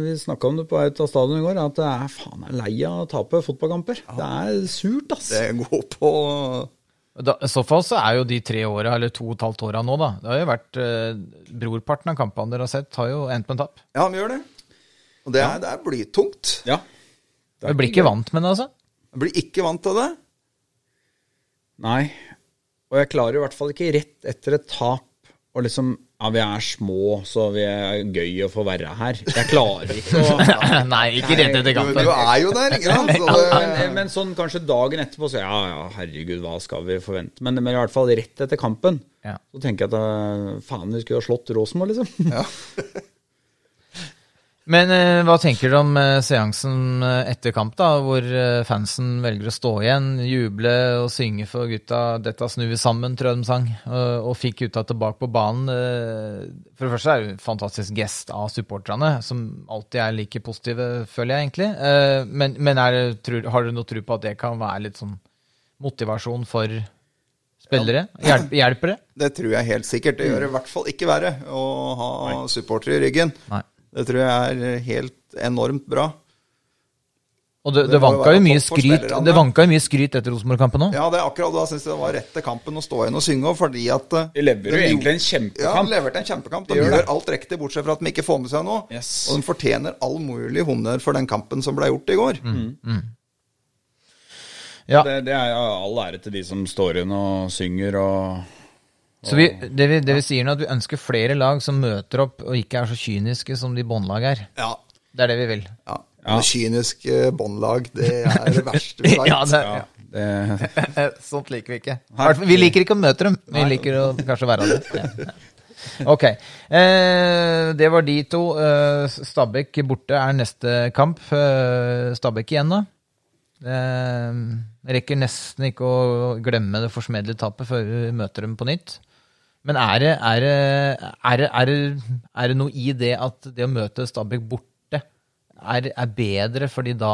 [SPEAKER 3] vi snakka om det på vei ut av stadion i går, at det er faen jeg er lei av å tape fotballkamper. Det er surt, ass.
[SPEAKER 4] Det går på
[SPEAKER 2] Og da- I så fall så er jo de tre åra, eller to og et halvt åra nå, da. Det har jo vært eh, Brorparten av kampene dere har sett, har jo endt med en tap.
[SPEAKER 4] Ja, vi gjør det. Og det er, det er blytungt.
[SPEAKER 3] Ja.
[SPEAKER 2] Vi blir ikke vant med det, altså.
[SPEAKER 4] Jeg blir ikke vant til det.
[SPEAKER 3] Nei. Og jeg klarer i hvert fall ikke rett etter et tap og liksom Ja, vi er små, så vi er gøy å få være her. Jeg klarer ikke å
[SPEAKER 2] Nei, ikke rett etter
[SPEAKER 4] Du, du
[SPEAKER 2] kampen.
[SPEAKER 4] er jo der, ikke sant? Så det,
[SPEAKER 3] men, men sånn kanskje dagen etterpå, så ja ja, herregud, hva skal vi forvente? Men, men i hvert fall rett etter kampen,
[SPEAKER 2] Ja.
[SPEAKER 3] så tenker jeg at eh, faen, vi skulle ha slått Rosenborg, liksom.
[SPEAKER 2] Men eh, hva tenker dere om eh, seansen eh, etter kamp, da, hvor eh, fansen velger å stå igjen, juble og synge for gutta 'Detta snur vi sammen', tror jeg de sang, eh, og fikk gutta tilbake på banen? eh, For det første er det en fantastisk gest av supporterne, som alltid er like positive, føler jeg egentlig. Eh, Men, men er det, tror, har dere noe tro på at det kan være litt sånn motivasjon for spillere? Hjelp, hjelper det?
[SPEAKER 4] Det tror jeg helt sikkert. Det gjør det i hvert fall ikke verre å ha supportere i ryggen.
[SPEAKER 2] Nei.
[SPEAKER 4] Det tror jeg er helt enormt bra.
[SPEAKER 2] Og det, det,
[SPEAKER 4] Det må jo
[SPEAKER 2] vanka jo
[SPEAKER 4] være
[SPEAKER 2] mye
[SPEAKER 4] topp for
[SPEAKER 2] skryt
[SPEAKER 4] spillerne.
[SPEAKER 2] Det vanka jo mye skryt etter Rosenborg-kampen òg.
[SPEAKER 4] Ja, det er akkurat da syns jeg det var rett til kampen å stå igjen og synge òg, fordi at eh,
[SPEAKER 3] De leverer jo
[SPEAKER 4] de-
[SPEAKER 3] egentlig
[SPEAKER 4] Ja,
[SPEAKER 3] en
[SPEAKER 4] de
[SPEAKER 3] kjempekamp.
[SPEAKER 4] leverte en kjempekamp. De
[SPEAKER 3] De gjør
[SPEAKER 4] gjør,
[SPEAKER 3] det.
[SPEAKER 4] alt riktig, bortsett fra at de ikke får med seg noe.
[SPEAKER 3] Yes.
[SPEAKER 4] Og de fortjener all mulig honnør for den kampen som ble gjort i går.
[SPEAKER 3] Mm.
[SPEAKER 2] Ja.
[SPEAKER 3] Det, det er ja, all ære til de som står igjen og synger og
[SPEAKER 2] Så vi, det, vi, det vi sier nå, er at vi ønsker flere lag som møter opp og ikke er så kyniske som de båndlag er.
[SPEAKER 4] Ja.
[SPEAKER 2] Det er det vi vil.
[SPEAKER 4] ja.
[SPEAKER 3] Ja.
[SPEAKER 4] Det kyniske båndlag, det er det verste vi
[SPEAKER 2] Ja,
[SPEAKER 4] vet.
[SPEAKER 2] det,
[SPEAKER 3] Ja, det,
[SPEAKER 2] Eh, Sånt liker vi ikke. Hvertfall- Vi liker ikke å møte dem, vi liker å kanskje være det. Ja. Ok. Eh, det var de to. Eh, Stabæk borte er neste kamp. Eh, Stabæk igjen, da. Eh, rekker nesten ikke å glemme det forsmedlede tapet før vi møter dem på nytt. Men er det, er, det, er, det, er, det, er det noe i det at det å møte Stabæk borte er, er bedre, fordi da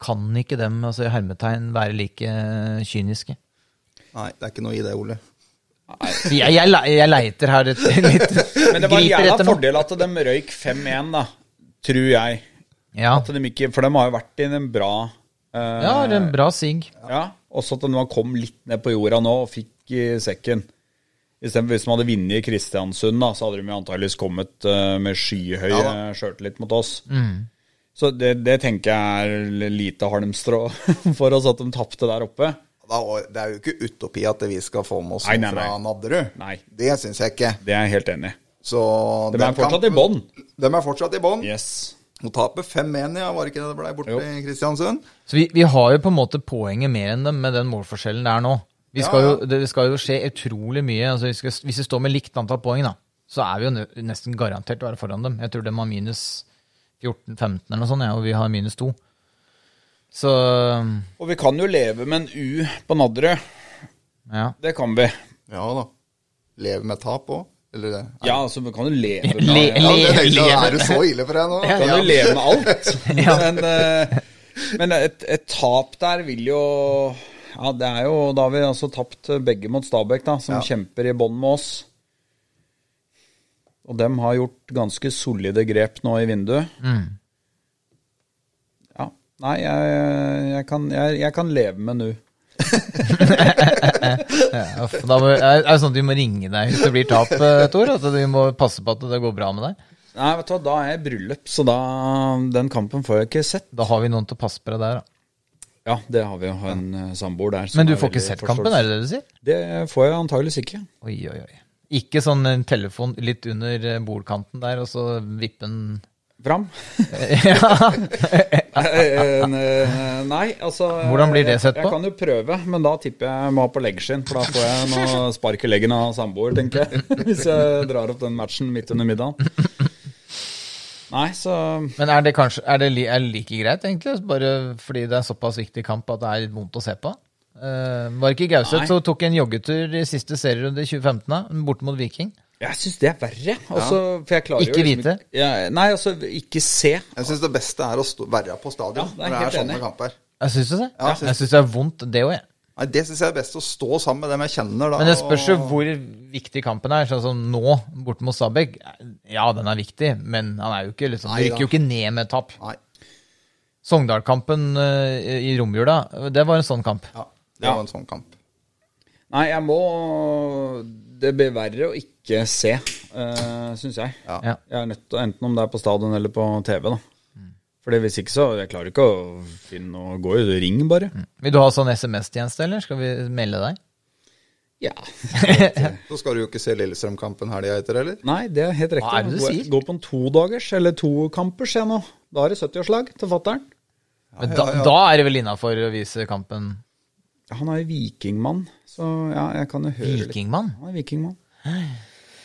[SPEAKER 2] kan ikke dem altså i hermetegn være like eh, kyniske?
[SPEAKER 4] Nei, det er ikke noe i det, Ole.
[SPEAKER 2] Jeg, jeg, le- jeg leiter her et litt
[SPEAKER 3] men det var en
[SPEAKER 2] Griper
[SPEAKER 3] jævla
[SPEAKER 2] etter noe.
[SPEAKER 3] fordel at de røyk 5-1, da. Tror jeg.
[SPEAKER 2] Ja,
[SPEAKER 3] At de ikke, for de har jo vært i en bra eh,
[SPEAKER 2] ja det er en bra sigg.
[SPEAKER 3] Ja, også at de nå kom litt ned på jorda nå og fikk i sekken. Istedenfor hvis de hadde vunnet i Kristiansund, da, så hadde de jo antageligvis kommet eh, med skyhøy
[SPEAKER 4] Ja
[SPEAKER 3] ja,
[SPEAKER 4] da.
[SPEAKER 3] sjøltillit mot oss. Så det, det tenker jeg er lite halmstrå for oss at de tapte der oppe.
[SPEAKER 4] Da, det er jo ikke utopi at vi skal få med oss
[SPEAKER 3] Nei,
[SPEAKER 4] noe
[SPEAKER 3] nei, nei.
[SPEAKER 4] fra Nadderud.
[SPEAKER 3] Nei.
[SPEAKER 4] Det syns jeg ikke.
[SPEAKER 3] Det er jeg helt enig i.
[SPEAKER 4] Så
[SPEAKER 3] De
[SPEAKER 4] den
[SPEAKER 3] er fortsatt
[SPEAKER 4] kampen-
[SPEAKER 3] i bånn.
[SPEAKER 4] De er fortsatt i bånn.
[SPEAKER 3] Yes.
[SPEAKER 4] Hun taper 5-1, ja, var det ikke det det ble borte
[SPEAKER 3] Jo.
[SPEAKER 4] i Kristiansund?
[SPEAKER 2] Så vi, vi har jo på en måte poenget mer enn dem med den målforskjellen det er nå. Vi
[SPEAKER 4] Ja,
[SPEAKER 2] skal jo,
[SPEAKER 4] ja.
[SPEAKER 2] det skal jo skje utrolig mye. Altså vi skal, hvis vi står med likt antall poeng, da, så er vi jo nø- nesten garantert å være foran dem. Jeg tror de har minus 14-15 eller noe sånt, ja, og vi har minus 2. Så
[SPEAKER 3] Og vi kan jo leve med en U på Nadderud.
[SPEAKER 2] ja.
[SPEAKER 3] Det kan vi.
[SPEAKER 4] Ja da. Lever med tap òg? Eller det?
[SPEAKER 3] Ja, altså, vi kan jo leve med
[SPEAKER 2] Le,
[SPEAKER 4] Ja, det
[SPEAKER 2] le,
[SPEAKER 4] tenkte jeg,
[SPEAKER 2] le.
[SPEAKER 4] er det så ille for deg nå?
[SPEAKER 3] kan
[SPEAKER 4] Ja.
[SPEAKER 3] jo leve med alt. Men, eh, men et, et tap der vil jo Ja, det er jo Da har vi altså tapt begge mot Stabæk, da, som
[SPEAKER 4] Ja.
[SPEAKER 3] kjemper i bånn med oss. Og dem har gjort ganske solide grep nå i vinduet.
[SPEAKER 2] Mm.
[SPEAKER 3] Ja. Nei, jeg, jeg, kan, jeg, jeg kan leve med nu.
[SPEAKER 2] Ja, for da må, er er det sånn at vi må ringe deg hvis det blir tap, eh, Tor? At vi må passe på at det går bra med deg?
[SPEAKER 3] Nei, vet du hva, da er jeg i bryllup, så da Den kampen får jeg ikke sett.
[SPEAKER 2] Da har vi noen til å passe på deg der, da.
[SPEAKER 3] Ja, det har vi jo en eh, samboer der. som
[SPEAKER 2] Men du
[SPEAKER 3] er
[SPEAKER 2] får ikke
[SPEAKER 3] veldig
[SPEAKER 2] sett kampen, er det det du sier?
[SPEAKER 3] forståelse- Det får jeg antageligvis ikke.
[SPEAKER 2] Oi, oi, oi. Ikke sånn en telefon litt under eh, bordkanten der, og så vippe den
[SPEAKER 3] Fram.
[SPEAKER 2] Ja.
[SPEAKER 3] Eh, eh, Nei, altså
[SPEAKER 2] Hvordan blir det sett
[SPEAKER 3] jeg,
[SPEAKER 2] på?
[SPEAKER 3] Jeg kan jo prøve, men da tipper jeg må ha på leggskinn. For da får jeg noe spark i leggen av samboer, tenker jeg. Hvis jeg drar opp den matchen midt under middagen. Nei, så
[SPEAKER 2] Men er det kanskje er det, li, er det like greit, egentlig? Bare fordi det er såpass viktig kamp at det er litt vondt å se på? Eh, var ikke Gauseth
[SPEAKER 3] Nei.
[SPEAKER 2] som tok en joggetur i siste serierunde i 2015, da, bort mot Viking?
[SPEAKER 3] jeg syns det er verre. Altså, for jeg klarer jo
[SPEAKER 2] Ikke
[SPEAKER 3] liksom
[SPEAKER 2] vite?
[SPEAKER 3] Ja, nei, altså, ikke se.
[SPEAKER 4] Jeg syns det beste er å stå, være på stadion
[SPEAKER 3] Ja, det er
[SPEAKER 4] når det
[SPEAKER 3] helt
[SPEAKER 4] er sånne
[SPEAKER 3] enig.
[SPEAKER 4] kamper.
[SPEAKER 2] Jeg syns det.
[SPEAKER 4] Ja, jeg synes
[SPEAKER 2] jeg syns det er vondt, det òg, jeg.
[SPEAKER 4] Nei, Det syns jeg er best, å stå sammen med dem jeg kjenner da.
[SPEAKER 2] Men det spørs jo
[SPEAKER 4] og-
[SPEAKER 2] hvor viktig kampen er. Sånn som nå, borte mot Stabæk. Ja, den er viktig, men han er jo ikke liksom, han
[SPEAKER 4] Nei da.
[SPEAKER 2] rykker jo ikke ned med tap.
[SPEAKER 4] Nei.
[SPEAKER 2] Sogndal-kampen eh, i romjula, det var en sånn kamp.
[SPEAKER 4] Ja, det
[SPEAKER 3] Ja.
[SPEAKER 4] var en sånn kamp.
[SPEAKER 3] Nei, jeg må Det blir verre å ikke se, uh, syns jeg.
[SPEAKER 4] Ja.
[SPEAKER 2] Ja.
[SPEAKER 3] Jeg er nødt til, Enten om det er på stadion eller på TV, da. Fordi hvis ikke, så Jeg klarer ikke å finne noe Gå i ring, bare.
[SPEAKER 2] Vil du ha sånn SMS-tjeneste, eller skal vi melde deg?
[SPEAKER 3] Ja.
[SPEAKER 4] Så skal du jo ikke se Lillestrøm-kampen helga etter, eller?
[SPEAKER 3] Nei, det er helt riktig.
[SPEAKER 2] Hva er det du
[SPEAKER 3] Gå-
[SPEAKER 2] sier?
[SPEAKER 3] Gå på en todagers eller tokampers, jeg nå. Da er det 70-årslag til fatter'n.
[SPEAKER 2] Men da, da er det vel innafor å vise kampen
[SPEAKER 3] Han er jo vikingmann, så ja, jeg kan jo høre litt.
[SPEAKER 2] Vikingmann?
[SPEAKER 3] Han er vikingmann.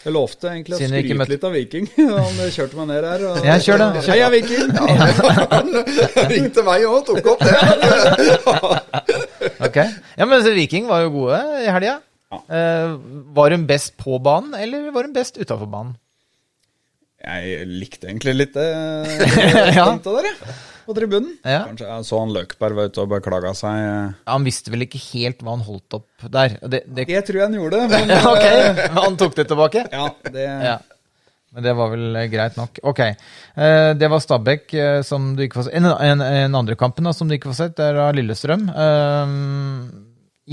[SPEAKER 3] Jeg lovte egentlig å
[SPEAKER 2] Siden vi ikke
[SPEAKER 3] skryte
[SPEAKER 2] møtte-
[SPEAKER 3] litt av Viking. Han kjørte meg ned her. Og...
[SPEAKER 2] Ja, kjør det, kjør.
[SPEAKER 3] Hei, jeg er Viking!
[SPEAKER 4] Ringte meg òg og tok opp det.
[SPEAKER 2] Ok. Ja, men så Viking var jo gode i helga. Eh, var hun best på banen, eller var hun best utafor banen?
[SPEAKER 3] Jeg likte egentlig litt eh, det
[SPEAKER 2] Ja.
[SPEAKER 3] punktet der, jeg. På tribunen.
[SPEAKER 2] Ja.
[SPEAKER 3] Kanskje jeg så han Løkberg var ute og beklaga seg. eh.
[SPEAKER 2] Ja, han visste vel ikke helt hva han holdt opp der. Det, det...
[SPEAKER 3] Det tror jeg han gjorde, men
[SPEAKER 2] Ja, ok, men han tok det tilbake?
[SPEAKER 3] ja, det
[SPEAKER 2] Ja. Men det var vel eh, greit nok. Ok, eh, det var Stabæk eh, som du ikke får sett. En, en, en andre kampen da, som du ikke får sett, det er av Lillestrøm. Eh,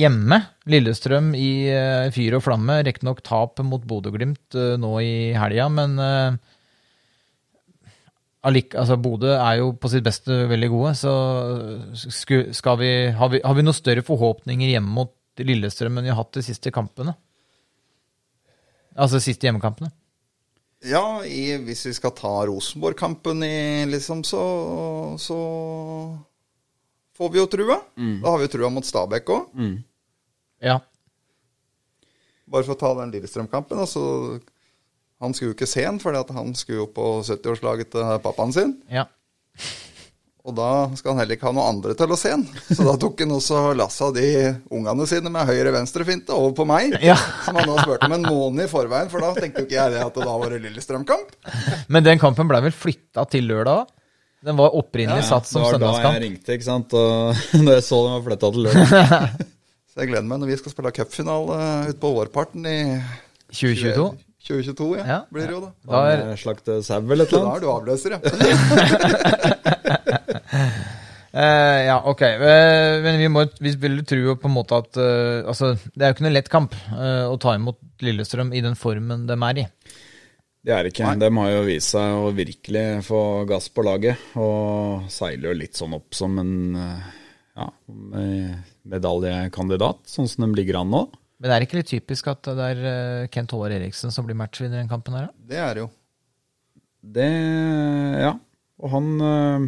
[SPEAKER 2] hjemme. Lillestrøm i eh, fyr og flamme. Riktignok tap mot Bodø-Glimt eh, nå i helga, men eh, allik, altså Bodø er jo på sitt beste veldig gode, så eh, sku, skal vi, har, vi, har vi noen større forhåpninger hjemme mot Lillestrøm enn vi har hatt de siste kampene? Altså de siste hjemmekampene?
[SPEAKER 4] Ja, i, hvis vi skal ta Rosenborg-kampen, i, liksom, så, så får vi jo trua.
[SPEAKER 3] Mm.
[SPEAKER 4] Da har vi jo trua mot Stabæk òg.
[SPEAKER 2] Ja.
[SPEAKER 4] Bare for å ta den Lillestrøm-kampen. Altså, han skulle jo ikke se den, for han skulle jo på 70-årslaget til pappaen sin.
[SPEAKER 2] Ja.
[SPEAKER 4] Og da skal han heller ikke ha noen andre til å se den. Så da tok han også lassa de ungene sine med høyre-venstre-finte over på meg.
[SPEAKER 2] Ja.
[SPEAKER 4] Som han da spurte om en måned i forveien, for da tenkte jo ikke jeg det at det da var det Lillestrøm-kamp.
[SPEAKER 2] Men den kampen ble vel flytta til lørdag òg? Den var opprinnelig satt som
[SPEAKER 3] det var da jeg
[SPEAKER 2] søndagskamp.
[SPEAKER 3] ringte, ikke sant. Og da jeg så den var flytta til lørdag.
[SPEAKER 4] Så jeg gleder meg når vi skal spille cupfinale utpå vårparten i
[SPEAKER 2] 2022.
[SPEAKER 4] 2022 ja.
[SPEAKER 2] Ja.
[SPEAKER 4] blir det jo da.
[SPEAKER 2] Da er,
[SPEAKER 3] Slakte sau eller et
[SPEAKER 4] Så da
[SPEAKER 3] eller annet.
[SPEAKER 4] er du avløser, ja.
[SPEAKER 2] eh, ja, ok. Eh, men vi, må, vi vil jo tro på en måte at eh, Altså, det er jo ikke noe lett kamp eh, å ta imot Lillestrøm i den formen de er i.
[SPEAKER 3] Det er ikke. De har jo vist seg å virkelig få gass på laget, og seiler jo litt sånn opp som en eh, ja, medaljekandidat, sånn som de ligger an nå.
[SPEAKER 2] Men det er ikke litt typisk at det er eh, Kent Håvard Eriksen som blir matchvinner i den kampen her, da?
[SPEAKER 4] Det er det jo.
[SPEAKER 3] Det Ja. Og han eh,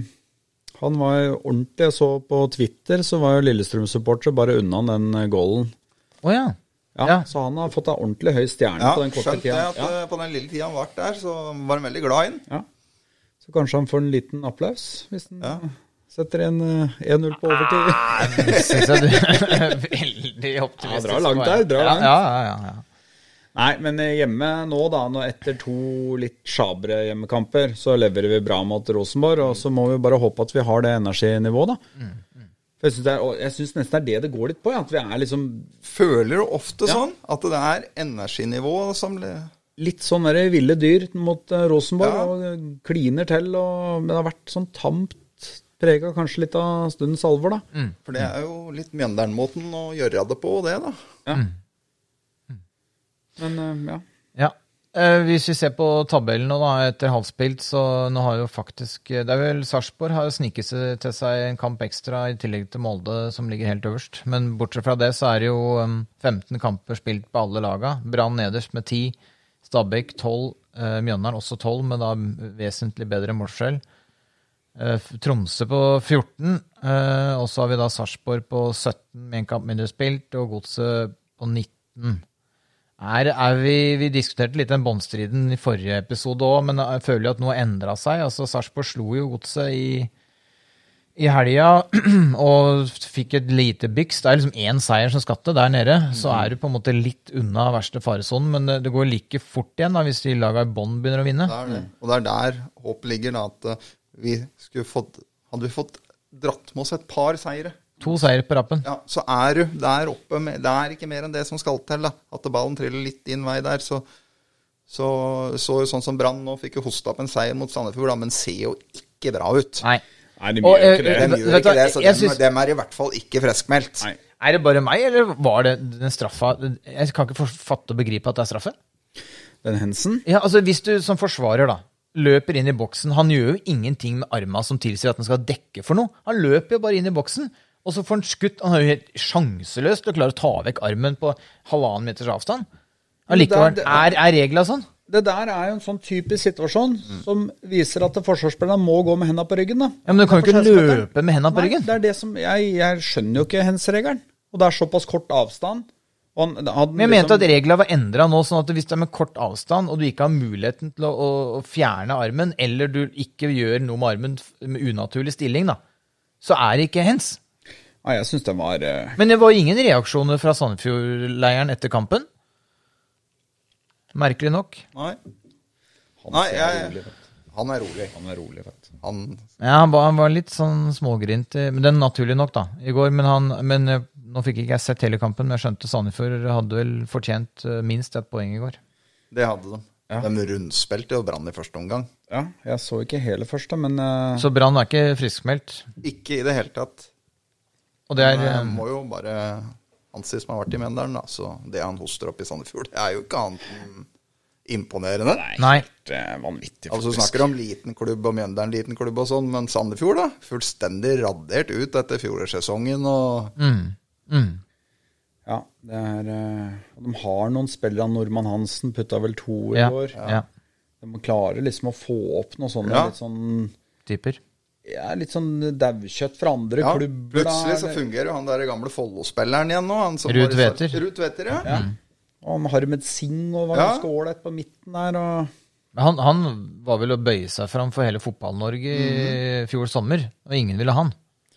[SPEAKER 3] han var ordentlig Jeg så på Twitter, så var jo Lillestrøm-supporter bare unna den eh, goalen.
[SPEAKER 2] Å ja.
[SPEAKER 3] Ja,
[SPEAKER 2] Ja.
[SPEAKER 3] Så han har fått ei ordentlig høy stjerne
[SPEAKER 4] Ja,
[SPEAKER 3] på den korte
[SPEAKER 4] skjønt det
[SPEAKER 3] tida.
[SPEAKER 4] at
[SPEAKER 3] Ja,
[SPEAKER 4] eh, på den lille tida han var der, så var han veldig glad inn.
[SPEAKER 3] ja. Så kanskje han får en liten applaus hvis han
[SPEAKER 4] Ja. Ah!
[SPEAKER 3] setter en eh, 1-0 på overtid.
[SPEAKER 2] Syns jeg du er veldig optimistisk.
[SPEAKER 3] Ja, drar langt der, drar langt.
[SPEAKER 2] Ja, ja, ja, ja.
[SPEAKER 3] Nei, men eh, hjemme nå, da, nå etter to litt sjabre hjemmekamper, så leverer vi bra mot Rosenborg. Og så må vi bare håpe at vi har det energinivået, da. For jeg synes det er- og Jeg syns nesten det er det det går litt på. Ja, at vi er liksom
[SPEAKER 4] Føler du ofte
[SPEAKER 3] Ja.
[SPEAKER 4] sånn at det er energinivået som le-
[SPEAKER 3] litt sånn der ville dyr mot eh, Rosenborg,
[SPEAKER 4] Ja.
[SPEAKER 3] og eh, kliner til. Og, men det har vært sånn tamt prega kanskje litt av stundens alvor, da.
[SPEAKER 2] Mm.
[SPEAKER 4] For det er jo litt Mjøndalen-måten å gjøre det på, det, da.
[SPEAKER 3] Men eh, ja.
[SPEAKER 2] Ja. Eh, hvis vi ser på tabellen nå, da, etter halvspilt, så nå har jo faktisk eh, Det er vel Sarpsborg har jo sniket seg til seg en kamp ekstra, i tillegg til Molde, som ligger helt øverst. Men bortsett fra det, så er det jo em, 15 kamper spilt på alle laga. Brann nederst med 10. Stabæk 12. Eh, Mjøndalen også 12, men da vesentlig bedre målskjell. Eh, F- Tromsø på 14. eh, Og så har vi da Sarpsborg på 17 med en kamp mindre spilt, og Godset på 19. Er, er vi, vi diskuterte litt den båndstriden i forrige episode òg, men jeg føler jo at noe endra seg. Altså, Sarpsborg slo jo Godset i, i helga og fikk et lite byks. Det er liksom én seier som skal til der nede. Så er du på en måte litt unna verste faresonen, men det, det går like fort igjen da, hvis de laga i bånd begynner å vinne.
[SPEAKER 4] Det er det. Mm. Og det er der håpet ligger, da. At eh, vi skulle fått Hadde vi fått dratt med oss et par seire,
[SPEAKER 2] To seier på rappen.
[SPEAKER 4] ja, så er du der oppe med Det er ikke mer enn det som skal til, da. At ballen triller litt din vei der, så så, så jo sånn som Brann nå fikk jo hosta opp en seier mot Sandefjord, da, men ser jo ikke bra ut.
[SPEAKER 2] Nei.
[SPEAKER 3] Nei, de
[SPEAKER 2] Og,
[SPEAKER 3] gjør jo
[SPEAKER 2] eh,
[SPEAKER 3] ikke det.
[SPEAKER 4] Dem
[SPEAKER 2] vet- vet
[SPEAKER 4] gjør
[SPEAKER 2] du
[SPEAKER 4] ikke
[SPEAKER 2] hva,
[SPEAKER 4] det, så
[SPEAKER 2] jeg
[SPEAKER 4] dem,
[SPEAKER 2] synes-
[SPEAKER 4] dem er i hvert fall ikke friskmeldt.
[SPEAKER 3] Nei.
[SPEAKER 2] Er det bare meg, eller var det den straffa Jeg kan ikke for- fatte og begripe at det er straffe.
[SPEAKER 3] Den Hensen?
[SPEAKER 2] Ja, altså Hvis du som forsvarer da løper inn i boksen Han gjør jo ingenting med arma som tilsier at han skal dekke for noe. Han løper jo bare inn i boksen, og så får han skutt. Han er jo helt sjanseløs til å klare å ta vekk armen på halvannen meters avstand. Allikevel,
[SPEAKER 3] det
[SPEAKER 2] er,
[SPEAKER 3] er-
[SPEAKER 2] er regla sånn?
[SPEAKER 3] Det der er jo en sånn typisk situasjon som viser at forsvarsspillerne må gå med henda på ryggen. da.
[SPEAKER 2] Mm. Ja, Men du kan jo ikke
[SPEAKER 3] Derfor skjønner jeg
[SPEAKER 2] løpe med henda på
[SPEAKER 3] Nei,
[SPEAKER 2] ryggen.
[SPEAKER 3] det er det som, jeg, jeg skjønner jo ikke hens regelen. Og det er såpass kort avstand, Og han, han, liksom-
[SPEAKER 2] Men jeg mente at reglene var endra nå, sånn at hvis det er med kort avstand, og du ikke har muligheten til å, å, å fjerne armen, eller du ikke gjør noe med armen f- med unaturlig stilling, da, så er det ikke hens.
[SPEAKER 3] Nei, jeg syns den var eh,
[SPEAKER 2] Men det var ingen reaksjoner fra Sandefjord-leiren etter kampen. Merkelig nok.
[SPEAKER 4] Nei,
[SPEAKER 3] han,
[SPEAKER 4] Nei,
[SPEAKER 3] ser
[SPEAKER 4] jeg-
[SPEAKER 3] rolig ut.
[SPEAKER 4] han er rolig.
[SPEAKER 3] han er rolig, fett.
[SPEAKER 4] Han
[SPEAKER 2] Ja, han var, han var litt sånn smågrint, eh, men den naturlig nok, da, i går. Men, han, men eh, nå fikk ikke jeg sett hele kampen, men jeg skjønte Sandefjord hadde vel fortjent eh, minst ett poeng i går.
[SPEAKER 4] Det hadde de. De rundspilte jo Brann i første omgang.
[SPEAKER 3] Ja, jeg så ikke hele første, men eh,
[SPEAKER 2] Så Brann er ikke friskmeldt.
[SPEAKER 4] Ikke i det hele tatt.
[SPEAKER 2] Og det er
[SPEAKER 4] Men, eh,
[SPEAKER 2] eh,
[SPEAKER 4] må jo bare anses som å ha vært i Mjøndalen, da. Så det han hoster opp i Sandefjord, det er jo ikke annet enn imponerende.
[SPEAKER 2] Nei.
[SPEAKER 3] det er vanvittig.
[SPEAKER 4] Altså
[SPEAKER 3] faktisk.
[SPEAKER 4] snakker om liten klubb og Mjøndalen liten klubb og sånn, men Sandefjord, da? Fullstendig radert ut etter fjorårssesongen og
[SPEAKER 2] Mm, mm.
[SPEAKER 3] Ja, det er, eh, De har noen spillere av Nordmann Hansen, putta vel to i
[SPEAKER 2] Ja,
[SPEAKER 3] går.
[SPEAKER 2] ja.
[SPEAKER 3] De klarer liksom å få opp noe sånn
[SPEAKER 4] Ja.
[SPEAKER 3] litt sånn
[SPEAKER 2] Typer.
[SPEAKER 3] ja, litt sånn daukjøtt fra andre
[SPEAKER 4] Ja,
[SPEAKER 3] klubber. da,
[SPEAKER 4] plutselig så
[SPEAKER 3] eller-
[SPEAKER 4] fungerer jo han der gamle Follo-spilleren igjen nå. Han som
[SPEAKER 2] Ruud
[SPEAKER 4] var i Sar-
[SPEAKER 2] Tveter.
[SPEAKER 4] Ruud Tveter, ja.
[SPEAKER 3] Og han Harmed Singh og var
[SPEAKER 4] Ja.
[SPEAKER 3] ganske ålreit på midten der. Og,
[SPEAKER 2] Men Han, han var vel å bøye seg fram for hele Fotball-Norge i fjor sommer, og ingen ville ha han.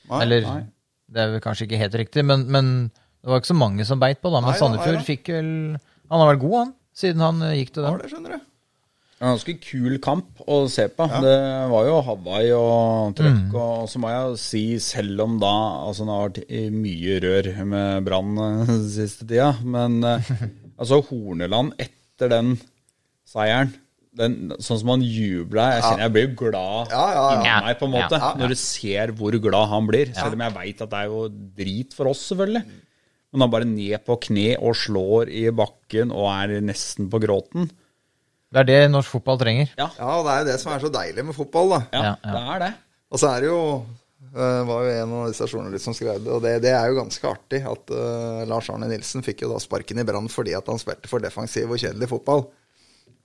[SPEAKER 4] Mhm. Nei,
[SPEAKER 2] Eller
[SPEAKER 3] nei.
[SPEAKER 2] det er vel kanskje ikke helt riktig, men, men det var ikke så mange som beit på, da. Men
[SPEAKER 4] Nei da, nei
[SPEAKER 2] Sandefjord
[SPEAKER 4] da.
[SPEAKER 2] fikk vel Han har vært god, han, siden han eh, gikk til
[SPEAKER 4] Var
[SPEAKER 2] den.
[SPEAKER 4] det, skjønner du.
[SPEAKER 3] en ganske kul kamp å se på. Det var jo Hawaii og trøkk. Og så må jeg jo si, selv om da Altså, det har vært i mye rør med Brann eh, siste tida, men eh, altså, Horneland etter den seieren den, sånn som han jubla Jeg kjenner jeg blir jo glad
[SPEAKER 4] Ja, ja, ja.
[SPEAKER 3] inni meg, på en
[SPEAKER 2] Ja,
[SPEAKER 3] måte.
[SPEAKER 2] ja, ja.
[SPEAKER 3] Når du ser hvor glad han blir. Selv om jeg veit at det er jo drit for oss, selvfølgelig. Men han bare ned på kne og slår i bakken og er nesten på gråten.
[SPEAKER 2] Det er det norsk fotball trenger.
[SPEAKER 4] Ja, det er jo det som er så deilig med fotball, da.
[SPEAKER 3] Ja,
[SPEAKER 2] Ja, ja.
[SPEAKER 3] det er det.
[SPEAKER 4] Og så er det jo eh, var jo en av disse journalistene som skrev det, og det, det er jo ganske artig at eh, Lars Arne Nilsen fikk jo da sparken i brann fordi at han spilte for defensiv og kjedelig fotball.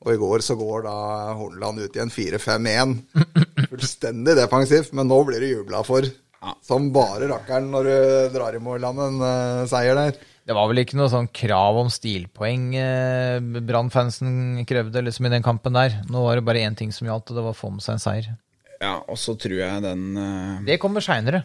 [SPEAKER 4] Og i går så går da Horneland ut i en 4-5-1. Fullstendig defensivt, men nå blir det jubla for. Som bare rakkeren når du drar i mål av en eh, seier der.
[SPEAKER 2] Det var vel ikke noe sånn krav om stilpoeng eh, Brann-fansen krevde liksom i den kampen der. Nå var det bare én ting som gjaldt, og det var å få med seg en seier.
[SPEAKER 3] Ja, og så tror jeg den eh,
[SPEAKER 2] Det kommer seinere.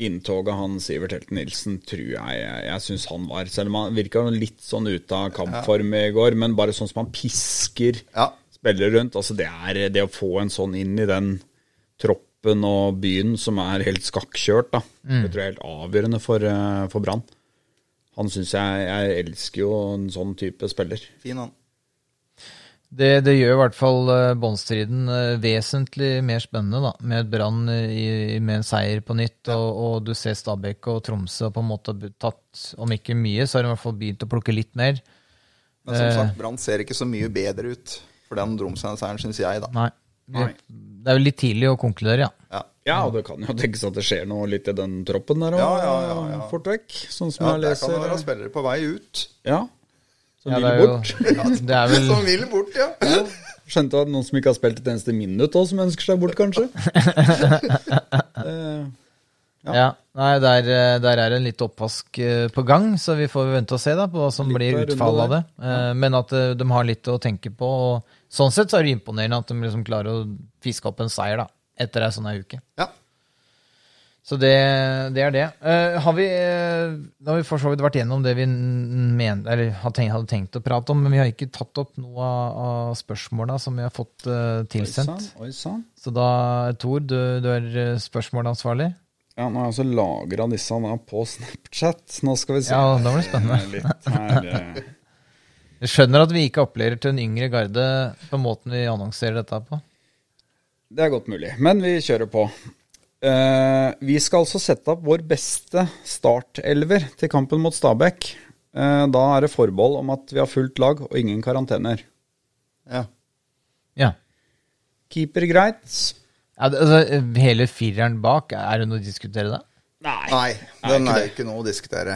[SPEAKER 3] inntoget han Sivert Helten Nilsen tror jeg jeg, jeg syns han var. Selv om han virka litt sånn ute av kampform i går, men bare sånn som han pisker
[SPEAKER 4] Ja.
[SPEAKER 3] spillere rundt. Altså det, er, det å få en sånn inn i den troppen og byen som er helt skakkjørt, da.
[SPEAKER 4] Mm.
[SPEAKER 3] Det tror jeg er helt avgjørende for, eh, for Brann. Han syns jeg Jeg elsker jo en sånn type spiller.
[SPEAKER 4] Fin han.
[SPEAKER 2] Det, det gjør i hvert fall eh, båndstriden eh, vesentlig mer spennende, da. Med et Brann i- i- med en seier på nytt, og, og du ser Stabæk og Tromsø på en måte har tatt, om ikke mye, så har de i hvert fall begynt å plukke litt mer.
[SPEAKER 4] Men
[SPEAKER 2] Eh.
[SPEAKER 4] som sagt, Brann ser ikke så mye bedre ut for den Dromsøy-seieren, syns jeg, da.
[SPEAKER 2] Nei. Det, det er jo litt tidlig å konkludere, ja.
[SPEAKER 4] Ja.
[SPEAKER 3] Ja, og det kan jo tenkes at det skjer noe litt i den troppen der òg,
[SPEAKER 4] Ja, ja, ja, ja.
[SPEAKER 3] fort vekk. Sånn som
[SPEAKER 4] Ja,
[SPEAKER 3] jeg
[SPEAKER 4] der kan det
[SPEAKER 3] leser.
[SPEAKER 4] være spillere på vei ut.
[SPEAKER 3] Ja. Som
[SPEAKER 2] Ja,
[SPEAKER 3] vil
[SPEAKER 2] det er jo-
[SPEAKER 3] bort.
[SPEAKER 2] Det er vel
[SPEAKER 4] Som vil bort, ja.
[SPEAKER 3] Skjønte at noen som ikke har spilt et eneste minutt òg, som ønsker seg bort, kanskje. Eh,
[SPEAKER 2] Ja. Nei, der, eh, der er en litt oppvask eh, på gang, så vi får vente og se da på hva som
[SPEAKER 3] Litt
[SPEAKER 2] blir
[SPEAKER 3] av runde
[SPEAKER 2] utfallet av
[SPEAKER 3] der.
[SPEAKER 2] det. Eh, Men at eh, de har litt å tenke på. Og sånn sett så er det imponerende at de liksom klarer å fiske opp en seier da, etter ei sånn her uke.
[SPEAKER 4] ja.
[SPEAKER 2] Så det, det er det. Eh, har vi, eh, da har vi for så vidt vært gjennom det vi n- men, eller hadde tenkt, hadde tenkt å prate om, men vi har ikke tatt opp noe av, av spørsmåla som vi har fått eh,
[SPEAKER 3] oi
[SPEAKER 2] tilsendt.
[SPEAKER 3] sann, Oi sann.
[SPEAKER 2] Så da, Tor, du, du er eh, spørsmålansvarlig.
[SPEAKER 3] Ja, nå har jeg altså lagra disse da på Snapchat. Nå skal vi se.
[SPEAKER 2] Ja, da var det spennende.
[SPEAKER 3] Eh, Litt her, eh.
[SPEAKER 2] Jeg skjønner at vi ikke appellerer til en yngre garde på måten vi annonserer dette på.
[SPEAKER 3] Det er godt mulig, men vi kjører på. Eh, vi skal altså sette opp vår beste startelver til kampen mot Stabæk. Eh, da er det forbehold om at vi har fullt lag og ingen karantener.
[SPEAKER 4] ja.
[SPEAKER 2] Ja.
[SPEAKER 3] Keeper greit.
[SPEAKER 2] Ja, det- altså, hele fireren bak, er det noe å diskutere det?
[SPEAKER 4] Nei, den er jo ikke noe å diskutere.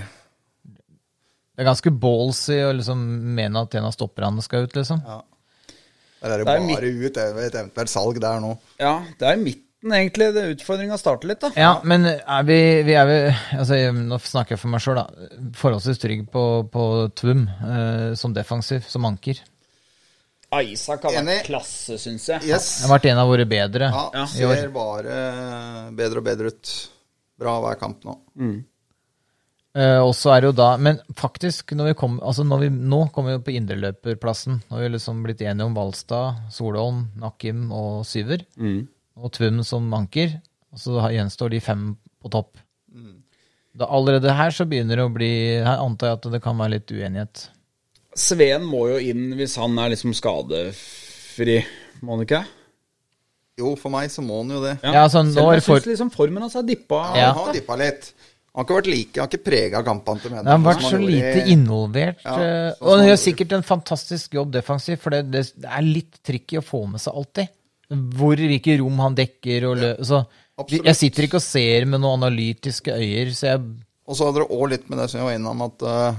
[SPEAKER 2] Det er ganske ballsy å liksom mene at en av stopperne skal ut, liksom.
[SPEAKER 4] Der er det
[SPEAKER 3] Det er
[SPEAKER 4] bare ut over et eventuelt salg der nå.
[SPEAKER 3] Ja, det er midt starten, egentlig. Det Utfordringa starter litt, da.
[SPEAKER 2] Ja, men er vi, vi er vel altså, jeg- Nå snakker jeg for meg sjøl, da. Forholdsvis trygg på, på Tvum eh, som defensiv, som anker.
[SPEAKER 3] Isak har
[SPEAKER 4] Enig.
[SPEAKER 3] vært klasse, syns jeg.
[SPEAKER 4] Yes.
[SPEAKER 2] Det har vært en av våre bedre.
[SPEAKER 4] Ja,
[SPEAKER 3] Ja.
[SPEAKER 2] i år.
[SPEAKER 4] ser bare bedre og bedre ut. Bra hver kamp nå.
[SPEAKER 2] Eh, og så er det jo da Men faktisk, når vi kom, altså når vi, nå kommer vi jo på indreløperplassen. Nå har vi liksom blitt enige om Valstad, Solholm, Nakim og Syver. Og Tvum som anker. Og så har- gjenstår de fem på topp. Da, allerede her så begynner det å bli Her antar jeg at det kan være litt uenighet.
[SPEAKER 3] Sveen må jo inn hvis han er liksom skadefri, må han ikke?
[SPEAKER 4] Jo, for meg så må han jo det.
[SPEAKER 2] Ja, altså, nå
[SPEAKER 3] Selv om
[SPEAKER 2] er
[SPEAKER 3] jeg
[SPEAKER 2] for-
[SPEAKER 3] syns liksom formen hans er dippa.
[SPEAKER 4] Ja,
[SPEAKER 2] Ja.
[SPEAKER 4] Han har dippa litt. Han har ikke vært like, han har ikke prega kampene til
[SPEAKER 2] Det har
[SPEAKER 4] Mendelsen
[SPEAKER 2] vært
[SPEAKER 4] som
[SPEAKER 2] så
[SPEAKER 4] han gjorde
[SPEAKER 2] lite
[SPEAKER 4] i-
[SPEAKER 2] involvert.
[SPEAKER 4] Ja,
[SPEAKER 2] eh,
[SPEAKER 4] sånn som
[SPEAKER 2] og han
[SPEAKER 4] han
[SPEAKER 2] gjør
[SPEAKER 4] gjorde.
[SPEAKER 2] sikkert en fantastisk jobb defensivt, for det, det, det er litt tricky å få med seg alltid. Hvor, hvilke rom han dekker og lø... Så,
[SPEAKER 4] absolutt.
[SPEAKER 2] jeg sitter ikke og ser med noen analytiske øyer, så jeg
[SPEAKER 4] Og så hadde det òg litt med det som jeg var innom, at eh,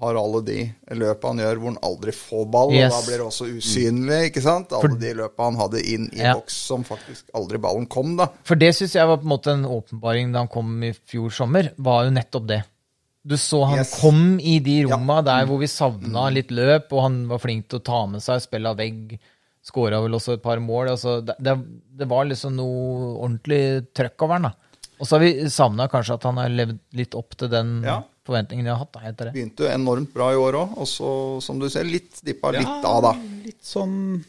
[SPEAKER 4] har alle de løpa han gjør hvor han aldri får ball,
[SPEAKER 2] Yes.
[SPEAKER 4] og da blir det også usynlig, ikke sant? Alle de løpa han hadde inn i
[SPEAKER 2] Ja.
[SPEAKER 4] boks som faktisk aldri ballen kom, da.
[SPEAKER 2] For det syns jeg var på en måte en åpenbaring da han kom i fjor sommer, var jo nettopp det. Du så han
[SPEAKER 4] Yes.
[SPEAKER 2] kom i de romma der hvor vi savna litt løp, og han var flink til å ta med seg, spille av vegg, skåra vel også et par mål. Altså, det, det, det var liksom noe ordentlig trøkk over han, da. Og så har vi savna kanskje at han har levd litt opp til den
[SPEAKER 4] Ja.
[SPEAKER 2] forventningen jeg har hatt da, etter det.
[SPEAKER 4] Begynte jo enormt bra i år òg, og så, som du ser, litt dippa litt av, da.
[SPEAKER 3] Litt sånn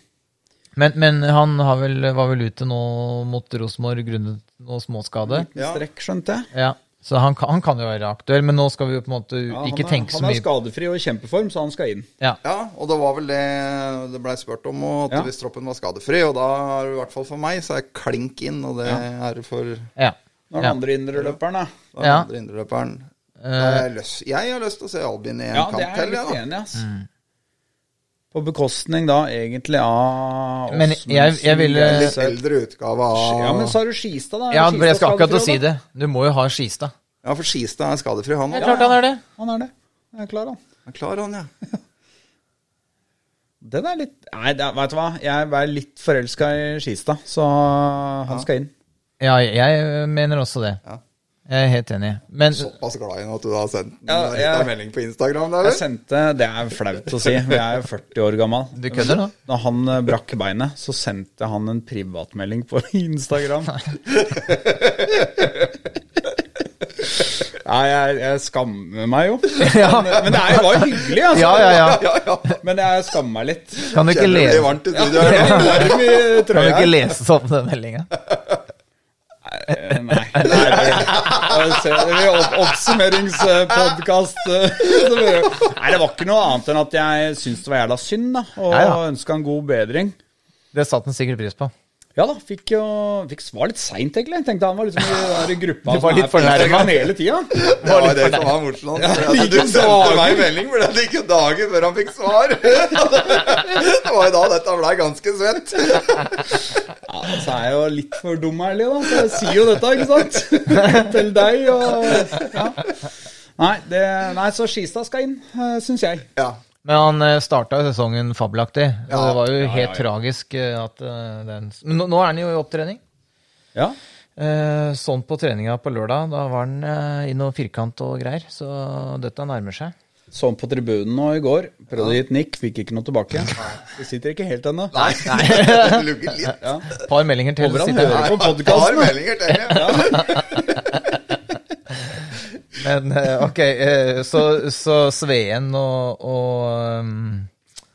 [SPEAKER 2] Men, men han har vel, var vel ute nå mot Rosenborg grunnet noe småskade.
[SPEAKER 4] Ja.
[SPEAKER 3] strekk, skjønte jeg.
[SPEAKER 2] Ja, så han, kan- han kan jo være aktuell, men nå skal vi jo på en måte
[SPEAKER 3] Ja,
[SPEAKER 2] ikke
[SPEAKER 3] han er,
[SPEAKER 2] tenke så
[SPEAKER 3] han er
[SPEAKER 2] mye
[SPEAKER 3] skadefri og i kjempeform, så han skal inn.
[SPEAKER 2] Ja.
[SPEAKER 4] Ja, og det var vel det det blei spurt om, og at
[SPEAKER 3] Ja.
[SPEAKER 4] hvis troppen var skadefri, og da er det i hvert fall for meg, så er klink inn, og det er for
[SPEAKER 2] ja.
[SPEAKER 3] Nå er
[SPEAKER 2] ja.
[SPEAKER 3] den andre indreløperen, da.
[SPEAKER 4] Da er
[SPEAKER 2] Ja. Eh.
[SPEAKER 4] andre indreløperen. Da har Jeg, lyst- jeg har lyst til å se Albin i en
[SPEAKER 3] Ja, det
[SPEAKER 4] kamp
[SPEAKER 3] er jeg
[SPEAKER 4] til.
[SPEAKER 3] litt
[SPEAKER 4] Ja, da.
[SPEAKER 3] enig i, ass.
[SPEAKER 2] Mm.
[SPEAKER 3] På bekostning da egentlig av
[SPEAKER 2] Men
[SPEAKER 3] Åsmundsen,
[SPEAKER 2] jeg- jeg ville-
[SPEAKER 3] Jenseth.
[SPEAKER 4] Litt eldre utgave av
[SPEAKER 3] Ja, men så har du Skistad, da.
[SPEAKER 2] Ja,
[SPEAKER 3] Skistad
[SPEAKER 2] for jeg skal akkurat til å
[SPEAKER 3] skadefri
[SPEAKER 2] si
[SPEAKER 3] også, da.
[SPEAKER 2] det. Du må jo ha Skistad.
[SPEAKER 4] Ja, for Skistad er skadefri, han
[SPEAKER 2] Det er klart
[SPEAKER 4] òg.
[SPEAKER 2] han er det.
[SPEAKER 3] Han er det. Han er klar, han.
[SPEAKER 4] Han er klar, han, ja.
[SPEAKER 3] Den er litt Nei, det er- vet du hva. Jeg er litt forelska i Skistad, så han skal inn.
[SPEAKER 2] Ja, jeg mener også det.
[SPEAKER 4] Ja.
[SPEAKER 2] Jeg er helt enig. Men
[SPEAKER 4] Såpass glad i ham at du har sendt
[SPEAKER 3] Ja,
[SPEAKER 4] en
[SPEAKER 3] jeg-
[SPEAKER 4] liten melding på Instagram. Der,
[SPEAKER 3] Jeg
[SPEAKER 4] eller?
[SPEAKER 3] sendte Det er flaut å si, for jeg er jo 40 år gammel.
[SPEAKER 2] du kødder nå?
[SPEAKER 3] Når han eh, brakk beinet, så sendte han en privatmelding på Instagram. Nei, jeg, jeg skammer meg jo. Men, men det er, var jo hyggelig, altså.
[SPEAKER 2] Ja, ja, ja.
[SPEAKER 4] ja, ja.
[SPEAKER 3] Men jeg skammer meg litt. eh,
[SPEAKER 2] Kan du ikke
[SPEAKER 4] Kjenner det blir
[SPEAKER 2] lese,
[SPEAKER 4] varmt i studio her. nå.
[SPEAKER 3] Varm i
[SPEAKER 2] kan du
[SPEAKER 3] trøya.
[SPEAKER 2] ikke lese sånn den meldinga?
[SPEAKER 3] Eh, Nei. nei det blir oppsummeringspodkast. Nei, det var ikke noe annet enn at jeg syntes det var jævla synd, da. Og
[SPEAKER 2] Ja, ja.
[SPEAKER 3] ønska en god bedring.
[SPEAKER 2] Det satte han sikkert pris på.
[SPEAKER 3] Ja da, fikk jo fikk svar litt seint, egentlig. Jeg Tenkte han var liksom i den der gruppa
[SPEAKER 2] Du var
[SPEAKER 3] som er
[SPEAKER 2] litt
[SPEAKER 3] på
[SPEAKER 2] fornærmet.
[SPEAKER 3] Instagram hele tida.
[SPEAKER 4] Det var det som var morsomt. At du
[SPEAKER 3] ikke
[SPEAKER 4] sendte
[SPEAKER 3] dagen.
[SPEAKER 4] meg melding, for det gikk jo dager før han fikk svar. Det var jo da dette blei ganske svett.
[SPEAKER 3] Ja, så er jeg jo litt for dum, ærlig, da. Så jeg sier jo dette, ikke sant? Til deg og ja. Nei, det, nei, så Skistad skal inn, syns jeg.
[SPEAKER 4] Ja.
[SPEAKER 2] Men han eh, starta jo sesongen fabelaktig. og
[SPEAKER 4] Ja.
[SPEAKER 2] Det var jo
[SPEAKER 3] Ja,
[SPEAKER 2] helt
[SPEAKER 3] ja, ja.
[SPEAKER 2] tragisk eh, at eh, den Men nå- nå er han jo i opptrening.
[SPEAKER 3] Ja.
[SPEAKER 2] Eh, Sånn på treninga på lørdag, da var han eh, i noe firkant og greier. Så dette nærmer seg.
[SPEAKER 3] Sånn på tribunen nå i går. Prøvde å gi et nikk, fikk ikke noe tilbake. Det sitter ikke helt ennå.
[SPEAKER 4] Nei. Det lugger litt.
[SPEAKER 2] Et par meldinger til.
[SPEAKER 3] Håper han
[SPEAKER 2] sitter jeg.
[SPEAKER 3] hører på
[SPEAKER 4] Jeg har
[SPEAKER 3] podkasten.
[SPEAKER 4] meldinger til. Ja.
[SPEAKER 2] Men eh, ok, eh, så, så Sveen og, og um,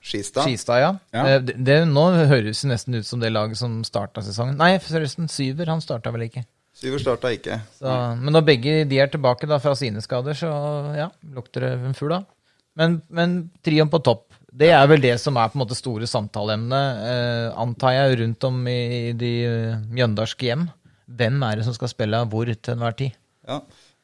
[SPEAKER 4] Skistad.
[SPEAKER 2] Skistad, ja.
[SPEAKER 3] Ja.
[SPEAKER 2] Eh, Det, det, nå høres det nesten ut som det laget som starta sesongen. Nei, forresten, Syver han starta vel ikke.
[SPEAKER 4] Syver starta ikke.
[SPEAKER 2] Så, men når begge de er tilbake da fra sine skader, så ja, lukter det en fugl da. Men, men trioen på topp. Det er vel det som er på en måte store samtaleemnet, eh, antar jeg, rundt om i, i de eh, mjøndalske hjem. Hvem er det som skal spille hvor til enhver tid?
[SPEAKER 4] Ja.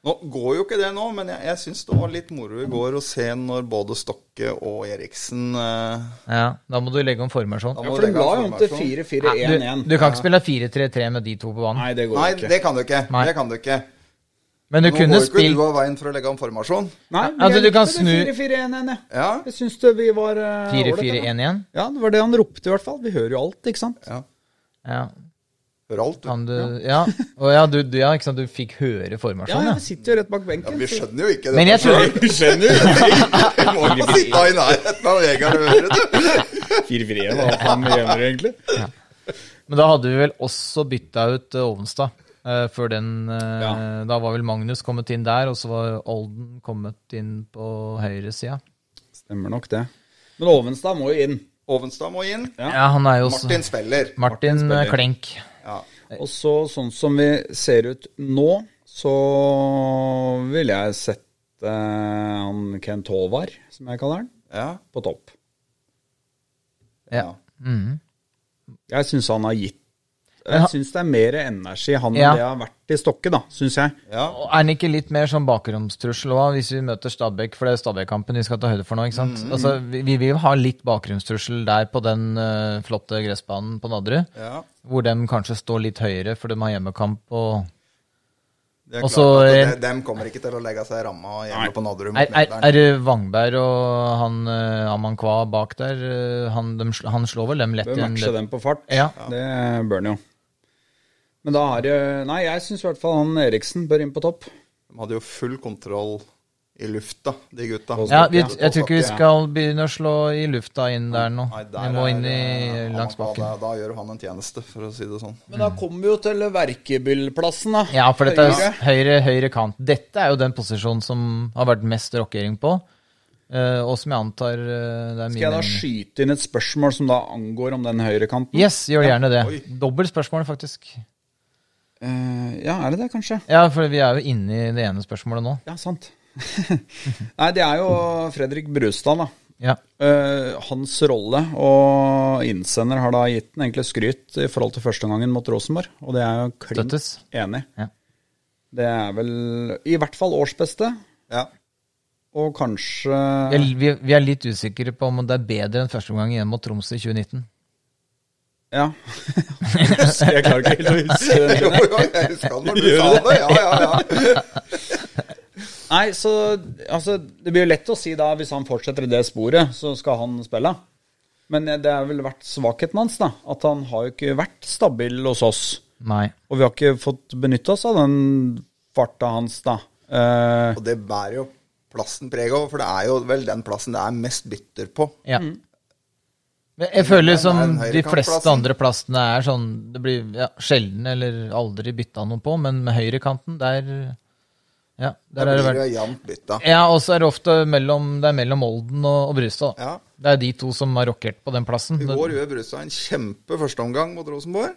[SPEAKER 4] Nå går jo ikke det nå, men jeg, jeg syns det var litt moro i går å se når både Stokke og Eriksen eh,
[SPEAKER 2] Ja, Da må du legge om formasjon.
[SPEAKER 4] da
[SPEAKER 3] Ja,
[SPEAKER 4] må
[SPEAKER 3] for de
[SPEAKER 4] legge
[SPEAKER 3] la
[SPEAKER 4] av
[SPEAKER 3] jo om til
[SPEAKER 4] formasjon.
[SPEAKER 3] 4-4-1-1.
[SPEAKER 2] Du, du kan ikke spille 4-3-3 med de to på banen.
[SPEAKER 3] Nei, det går
[SPEAKER 4] Nei,
[SPEAKER 3] ikke.
[SPEAKER 4] det kan du ikke.
[SPEAKER 2] Nei.
[SPEAKER 4] Det kan du ikke.
[SPEAKER 2] Men du
[SPEAKER 4] Nå
[SPEAKER 2] kunne
[SPEAKER 4] går jo ikke
[SPEAKER 2] spilt
[SPEAKER 4] du av veien for å legge om formasjon.
[SPEAKER 3] Nei,
[SPEAKER 2] Ja, altså,
[SPEAKER 3] jeg
[SPEAKER 2] du kan
[SPEAKER 3] likte
[SPEAKER 2] snu-
[SPEAKER 3] det 4-4-1-1, jeg.
[SPEAKER 4] Ja.
[SPEAKER 3] Jeg syns det vi var eh, ålreit, da.
[SPEAKER 2] 4-4-1 igjen.
[SPEAKER 3] Ja, det var det han ropte i hvert fall. Vi hører jo alt, ikke sant?
[SPEAKER 4] ja.
[SPEAKER 2] Ja.
[SPEAKER 4] Hører alt.
[SPEAKER 2] Kan du, ja. Og ja, du, du, ja, ikke sant, du fikk høre
[SPEAKER 3] Ja,
[SPEAKER 2] formasjonen,
[SPEAKER 3] jeg
[SPEAKER 2] ja.
[SPEAKER 3] sitter jo rett bak
[SPEAKER 4] Ja,
[SPEAKER 3] benken.
[SPEAKER 4] vi skjønner jo ikke det.
[SPEAKER 2] Men jeg tror-
[SPEAKER 3] Du skjønner jo.
[SPEAKER 4] Vi må ikke sitte i nærheten av jegeren og høre det.
[SPEAKER 3] Fire frie, hva faen gjør du egentlig?
[SPEAKER 2] Men da hadde vi vel også bytta ut eh, Ovenstad. eh, før den eh,
[SPEAKER 3] Ja.
[SPEAKER 2] Da var vel Magnus kommet inn der, og så var Olden kommet inn på høyresida.
[SPEAKER 3] Stemmer nok det. Men Ovenstad må jo inn.
[SPEAKER 4] Ovenstad må inn.
[SPEAKER 3] Ja.
[SPEAKER 2] Ja, han er jo også
[SPEAKER 4] Martin
[SPEAKER 2] Martin,
[SPEAKER 4] spiller.
[SPEAKER 2] eh,
[SPEAKER 3] Martin spiller.
[SPEAKER 2] Klenk.
[SPEAKER 4] Ja.
[SPEAKER 3] Og så sånn som vi ser ut nå, så vil jeg sette eh, han Kent Håvard, som jeg kaller han,
[SPEAKER 4] Ja.
[SPEAKER 3] på topp.
[SPEAKER 2] Ja. Mhm.
[SPEAKER 3] Jeg syns han har gitt
[SPEAKER 2] Men han-
[SPEAKER 3] Jeg syns det er mer energi i han
[SPEAKER 2] Ja.
[SPEAKER 3] enn det har vært i Stokke, da, syns jeg.
[SPEAKER 4] ja.
[SPEAKER 2] Og er han ikke litt mer sånn bakromstrussel òg, hvis vi møter Stabæk? For det er Stabæk-kampen vi skal ta høyde for nå, ikke sant?
[SPEAKER 3] Mm.
[SPEAKER 2] Altså, vi, vi vil jo ha litt bakromstrussel der på den eh, flotte gressbanen på Nadderud.
[SPEAKER 4] ja.
[SPEAKER 2] Hvor de kanskje står litt høyere, for de har hjemmekamp og
[SPEAKER 4] Det er
[SPEAKER 2] Og så- eh,
[SPEAKER 4] klart at de, dem kommer ikke til å legge seg i ramma hjemme på Nadderud mot
[SPEAKER 2] Er, er,
[SPEAKER 4] Mjøndalen.
[SPEAKER 2] er det Vangberg og han eh, Amankwa bak der eh, han, dem sl- han slår vel dem lett
[SPEAKER 3] Bør matche
[SPEAKER 2] løp-
[SPEAKER 3] dem på fart.
[SPEAKER 2] Ja.
[SPEAKER 3] Det bør han jo. Men da har jeg Nei, jeg syns i hvert fall han Eriksen bør inn på topp.
[SPEAKER 4] De hadde jo full kontroll i lufta, de gutta.
[SPEAKER 2] Ja, vi, jeg tror ikke vi
[SPEAKER 4] Ja.
[SPEAKER 2] skal begynne å slå i lufta inn der nå.
[SPEAKER 4] Nei, der
[SPEAKER 2] Vi må
[SPEAKER 4] er-
[SPEAKER 2] inn i
[SPEAKER 4] han-
[SPEAKER 2] langs bakken.
[SPEAKER 4] Da, da gjør han en tjeneste, for å si det sånn.
[SPEAKER 3] Men da kommer vi jo til Verkebyllplassen, da.
[SPEAKER 2] Ja, for dette er jo
[SPEAKER 3] Høyre.
[SPEAKER 2] s- høyre, høyre kant. Dette er jo den posisjonen som har vært mest rockering på, eh, og som jeg antar eh, det er
[SPEAKER 3] Skal jeg
[SPEAKER 2] mye
[SPEAKER 3] da
[SPEAKER 2] mening.
[SPEAKER 3] skyte inn et spørsmål som da angår om den høyrekanten?
[SPEAKER 2] Yes, gjør gjerne det.
[SPEAKER 4] Oi.
[SPEAKER 2] Dobbelt spørsmål, faktisk.
[SPEAKER 3] Eh, ja, er det det, kanskje?
[SPEAKER 2] Ja, for vi er jo inne i det ene spørsmålet nå.
[SPEAKER 3] Ja, sant. Nei, det er jo Fredrik Brustad, da.
[SPEAKER 2] Ja.
[SPEAKER 3] Eh, hans rolle og innsender har da gitt den egentlig skryt i forhold til første gangen mot Rosenborg, og det er jeg jo klint
[SPEAKER 2] Støttes.
[SPEAKER 3] enig.
[SPEAKER 2] Ja.
[SPEAKER 3] Det er vel i hvert fall årsbeste,
[SPEAKER 4] Ja.
[SPEAKER 3] og kanskje
[SPEAKER 2] Vi, er, vi, vi er litt usikre på om det er bedre enn første gang igjen mot Troms i 2019.
[SPEAKER 3] Ja. jeg klarer ikke helt å huske det.
[SPEAKER 4] Jo, jo, jeg husker han når du sa det. Ja, ja, ja.
[SPEAKER 3] Nei, så altså, Det blir jo lett å si da, hvis han fortsetter i det sporet, så skal han spille. Men det har vel vært svakheten hans, da. At han har jo ikke vært stabil hos oss.
[SPEAKER 2] Nei.
[SPEAKER 3] Og vi har ikke fått benytte oss av den farta hans, da. Eh,
[SPEAKER 4] Og det bærer jo plassen preg av, for det er jo vel den plassen det er mest bytter på.
[SPEAKER 2] Ja. Men jeg føler
[SPEAKER 4] det er
[SPEAKER 2] som
[SPEAKER 4] den
[SPEAKER 2] de fleste
[SPEAKER 4] høyrekantplassen.
[SPEAKER 2] andre plassene er sånn Det blir ja, sjelden eller aldri bytta noe på, men med høyrekanten, der Ja,
[SPEAKER 4] Der
[SPEAKER 2] der er det
[SPEAKER 4] blir
[SPEAKER 2] vært
[SPEAKER 4] det jevnt bytta.
[SPEAKER 2] Ja, og så er det ofte mellom, det er mellom Olden og, og Brustad. da.
[SPEAKER 4] Ja.
[SPEAKER 2] Det er de to som har rockert på den plassen.
[SPEAKER 4] I
[SPEAKER 2] Det-
[SPEAKER 4] går gjør Brustad en kjempe førsteomgang mot Rosenborg.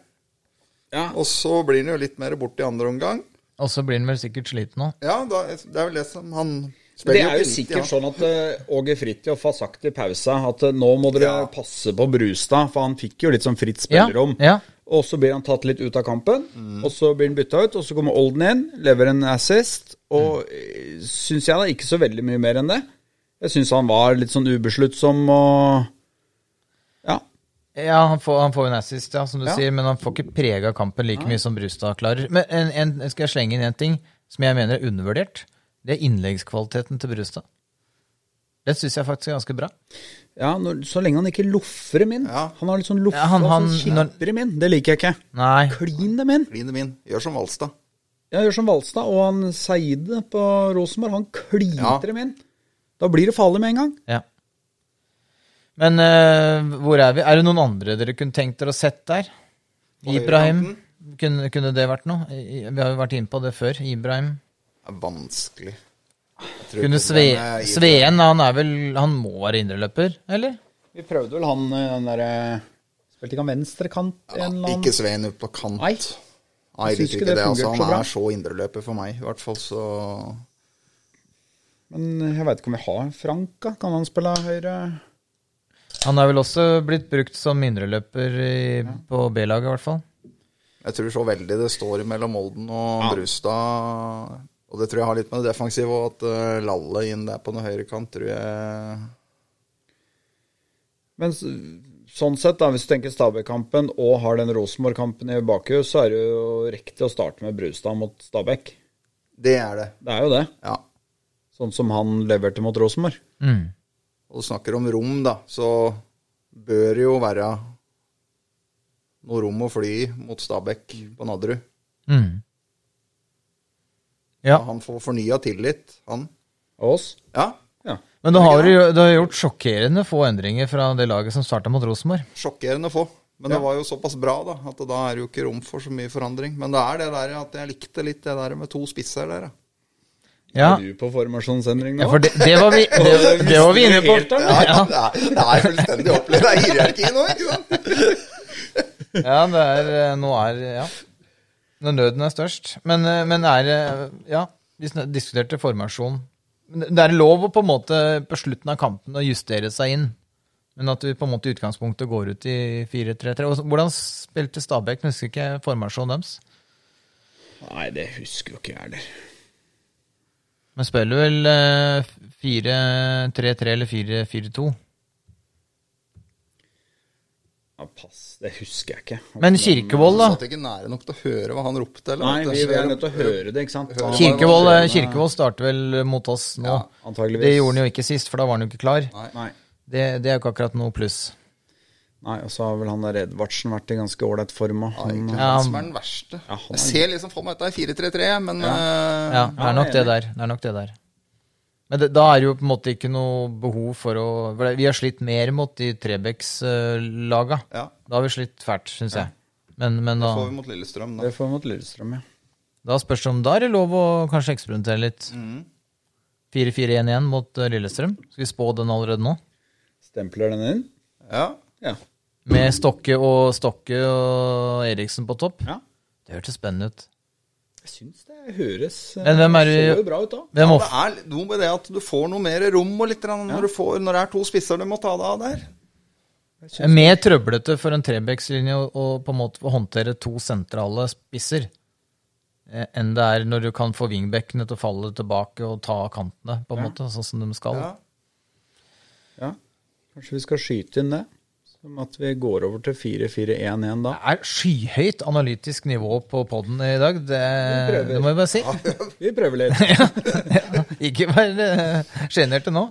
[SPEAKER 3] Ja.
[SPEAKER 4] Og så blir han jo litt mer borte i andre omgang.
[SPEAKER 2] Og så blir han vel sikkert sliten nå.
[SPEAKER 4] Ja, da, det er vel det som han
[SPEAKER 3] det
[SPEAKER 4] spiller
[SPEAKER 3] er jo
[SPEAKER 4] inntil, ja.
[SPEAKER 3] sikkert sånn at eh, Åge Fridtjof har sagt i pausa at eh, nå må dere
[SPEAKER 4] Ja.
[SPEAKER 3] passe på Brustad, for han fikk jo litt sånn fritt
[SPEAKER 2] Ja,
[SPEAKER 3] spillerom.
[SPEAKER 2] ja.
[SPEAKER 3] Og så blir han tatt litt ut av kampen, og så blir han bytta ut, og så kommer Olden inn, lever en assist, og mm. syns jeg da ikke så veldig mye mer enn det. Jeg syns han var litt sånn ubesluttsom og Ja.
[SPEAKER 2] Ja, han får, han får jo en assist, ja, som du
[SPEAKER 3] Ja.
[SPEAKER 2] sier, men han får ikke prega kampen like mye som Brustad klarer. Men en, en, skal jeg slenge inn en ting som jeg mener er undervurdert? Det er innleggskvaliteten til Brustad. Den syns jeg faktisk er ganske bra.
[SPEAKER 3] ja når, så lenge han ikke loffer dem inn.
[SPEAKER 4] Ja.
[SPEAKER 3] Han har litt sånn loff,
[SPEAKER 2] Ja, han- han-
[SPEAKER 3] sånn kipper dem inn. Det liker jeg ikke.
[SPEAKER 2] Nei.
[SPEAKER 3] Klin dem inn.
[SPEAKER 4] Line min. Gjør som Valstad.
[SPEAKER 3] Ja, gjør som Valstad og han Seide på Rosenborg. Han kliter
[SPEAKER 4] Ja.
[SPEAKER 3] dem inn. Da blir det farlig med en gang.
[SPEAKER 2] Ja. Men eh, hvor er vi? Er det noen andre dere kunne tenkt dere å sett der? Ibrahim? Kunne, kunne det vært noe? I- Vi har jo vært inne på det før. Ibrahim.
[SPEAKER 4] Det er vanskelig. Jeg tror
[SPEAKER 2] Kunne
[SPEAKER 4] ikke
[SPEAKER 2] Sve,
[SPEAKER 4] den er-
[SPEAKER 2] Sveen Han er vel Han må være indreløper, eller?
[SPEAKER 3] Vi prøvde vel han eh, den derre Spilte ikke han venstrekant?
[SPEAKER 4] Ja,
[SPEAKER 3] en eller annen-
[SPEAKER 4] ikke Svein ut på kant.
[SPEAKER 3] Nei.
[SPEAKER 4] Nei, jeg
[SPEAKER 3] synes
[SPEAKER 4] liker
[SPEAKER 3] ikke
[SPEAKER 4] ikke
[SPEAKER 3] det
[SPEAKER 4] det. Altså,
[SPEAKER 3] fungerte så
[SPEAKER 4] han
[SPEAKER 3] bra.
[SPEAKER 4] er så indreløper for meg, i hvert fall. Så
[SPEAKER 3] Men jeg veit ikke om vi har Frank, da. Kan han spille høyre?
[SPEAKER 2] Han er vel også blitt brukt som indreløper i- på B-laget, i hvert fall.
[SPEAKER 4] jeg tror så veldig det står mellom Olden og Brustad. Og det tror jeg har litt med det defensive og at eh, Lalle inn der på den høyre kant, tror jeg
[SPEAKER 3] Men s- sånn sett, da, hvis du tenker Stabæk-kampen og har den Rosenborg-kampen i bakhus, så er det jo riktig å starte med Brustad mot Stabæk.
[SPEAKER 4] Det er det.
[SPEAKER 3] Det er jo det.
[SPEAKER 4] Ja.
[SPEAKER 3] Sånn som han leverte mot Rosenborg.
[SPEAKER 2] Mm.
[SPEAKER 4] Og du snakker om rom, da, så bør det jo være noe rom å fly i mot Stabæk på Nadderud.
[SPEAKER 2] Mm. Ja,
[SPEAKER 4] Han får fornya tillit, han.
[SPEAKER 3] Og oss?
[SPEAKER 4] Ja,
[SPEAKER 3] Ja.
[SPEAKER 2] men du har, jo- du har gjort sjokkerende få endringer fra det laget som starta mot Rosenborg.
[SPEAKER 4] sjokkerende få. Men det var jo såpass bra, da, at da er det jo ikke rom for så mye forandring. Men det er det der at jeg likte litt det der med to spisser der, ja.
[SPEAKER 2] Ja,
[SPEAKER 3] Er du på formasjonsendring nå?
[SPEAKER 2] ja for det, det, var vi, det, det var vi inne på. Ja,
[SPEAKER 4] Det er, det er fullstendig opplevd. Det er hierarki nå, ikke sant?
[SPEAKER 2] ja det er eh, Nå er Ja. Når nøden er størst. Men, eh, men er eh, Ja, vi sn- diskuterte formasjon. Men Det det er lov å på en måte på slutten av kampen å justere seg inn. Men at vi på en måte i utgangspunktet går ut i 4-3-3. Og så- Hvordan spilte Stabæk? Nå Husker ikke formasjonen deres.
[SPEAKER 3] Nei, det husker jo ikke jeg heller.
[SPEAKER 2] Men spiller vel eh, 4-3-3 eller 4-4-2.
[SPEAKER 3] Ja, pass, det husker jeg ikke.
[SPEAKER 2] Men Kirkevold, da?
[SPEAKER 4] Satt ikke nære nok til å høre hva han ropte, eller?
[SPEAKER 3] Nei,
[SPEAKER 4] At det
[SPEAKER 3] vi er
[SPEAKER 4] skjer-
[SPEAKER 3] nødt til å høre det, ikke sant?
[SPEAKER 4] Høre det.
[SPEAKER 2] Kirkevold, eh, Kirkevold starter vel mot oss nå.
[SPEAKER 3] Ja, antageligvis.
[SPEAKER 2] det gjorde han jo ikke sist, for da var han jo ikke klar.
[SPEAKER 3] Nei.
[SPEAKER 2] Det, det er jo ikke akkurat noe pluss.
[SPEAKER 3] Nei, og så har vel han der Edvardsen vært i ganske ålreit form. da.
[SPEAKER 4] Det er
[SPEAKER 3] Han-
[SPEAKER 4] egentlig
[SPEAKER 2] Ja.
[SPEAKER 4] han som er den verste.
[SPEAKER 3] Ja, han er-
[SPEAKER 4] Jeg ser liksom for meg at det er 4-3-3, men eh,
[SPEAKER 2] Ja, det er nok det der. Det er nok det der. Men det, da er det jo på en måte ikke noe behov for å for det- Vi har slitt mer mot de Trebecks-laga.
[SPEAKER 4] Ja.
[SPEAKER 2] Da har vi slitt fælt, syns jeg. Men, men da,
[SPEAKER 4] får vi mot Lillestrøm, da.
[SPEAKER 3] eh, Det får vi mot Lillestrøm, ja.
[SPEAKER 2] da spørs det om da er det lov å kanskje eksperimentere litt. 4-4-1-1 mot eh, Lillestrøm. Skal vi spå den allerede nå?
[SPEAKER 3] Stempler den inn?
[SPEAKER 4] Ja.
[SPEAKER 3] Ja.
[SPEAKER 2] Med Stokke og Stokke og Eriksen på topp.
[SPEAKER 3] ja.
[SPEAKER 2] Det hørtes spennende ut.
[SPEAKER 3] Jeg syns det høres eh,
[SPEAKER 2] Men hvem er
[SPEAKER 3] ser
[SPEAKER 2] det-
[SPEAKER 3] jo bra ut da.
[SPEAKER 2] Hvem
[SPEAKER 4] Det
[SPEAKER 2] off
[SPEAKER 4] er noe med det at du får noe mer rom og litt grann når, du får, når det er to spisser du må ta deg av der.
[SPEAKER 2] er mer trøblete for en trebekslinje å- å på en måte få håndtere to sentrale spisser eh, enn det er når du kan få wingbackene til å falle tilbake og ta kantene, på en måte, sånn som de skal.
[SPEAKER 4] Ja.
[SPEAKER 3] Ja. Kanskje vi skal skyte inn det? Som at vi går over til 4-4-1-1 da.
[SPEAKER 2] Det er skyhøyt analytisk nivå på poden i dag, det,
[SPEAKER 3] prøver.
[SPEAKER 2] det må jeg bare si.
[SPEAKER 3] Vi prøver litt.
[SPEAKER 2] Ikke vær eh, sjenerte nå.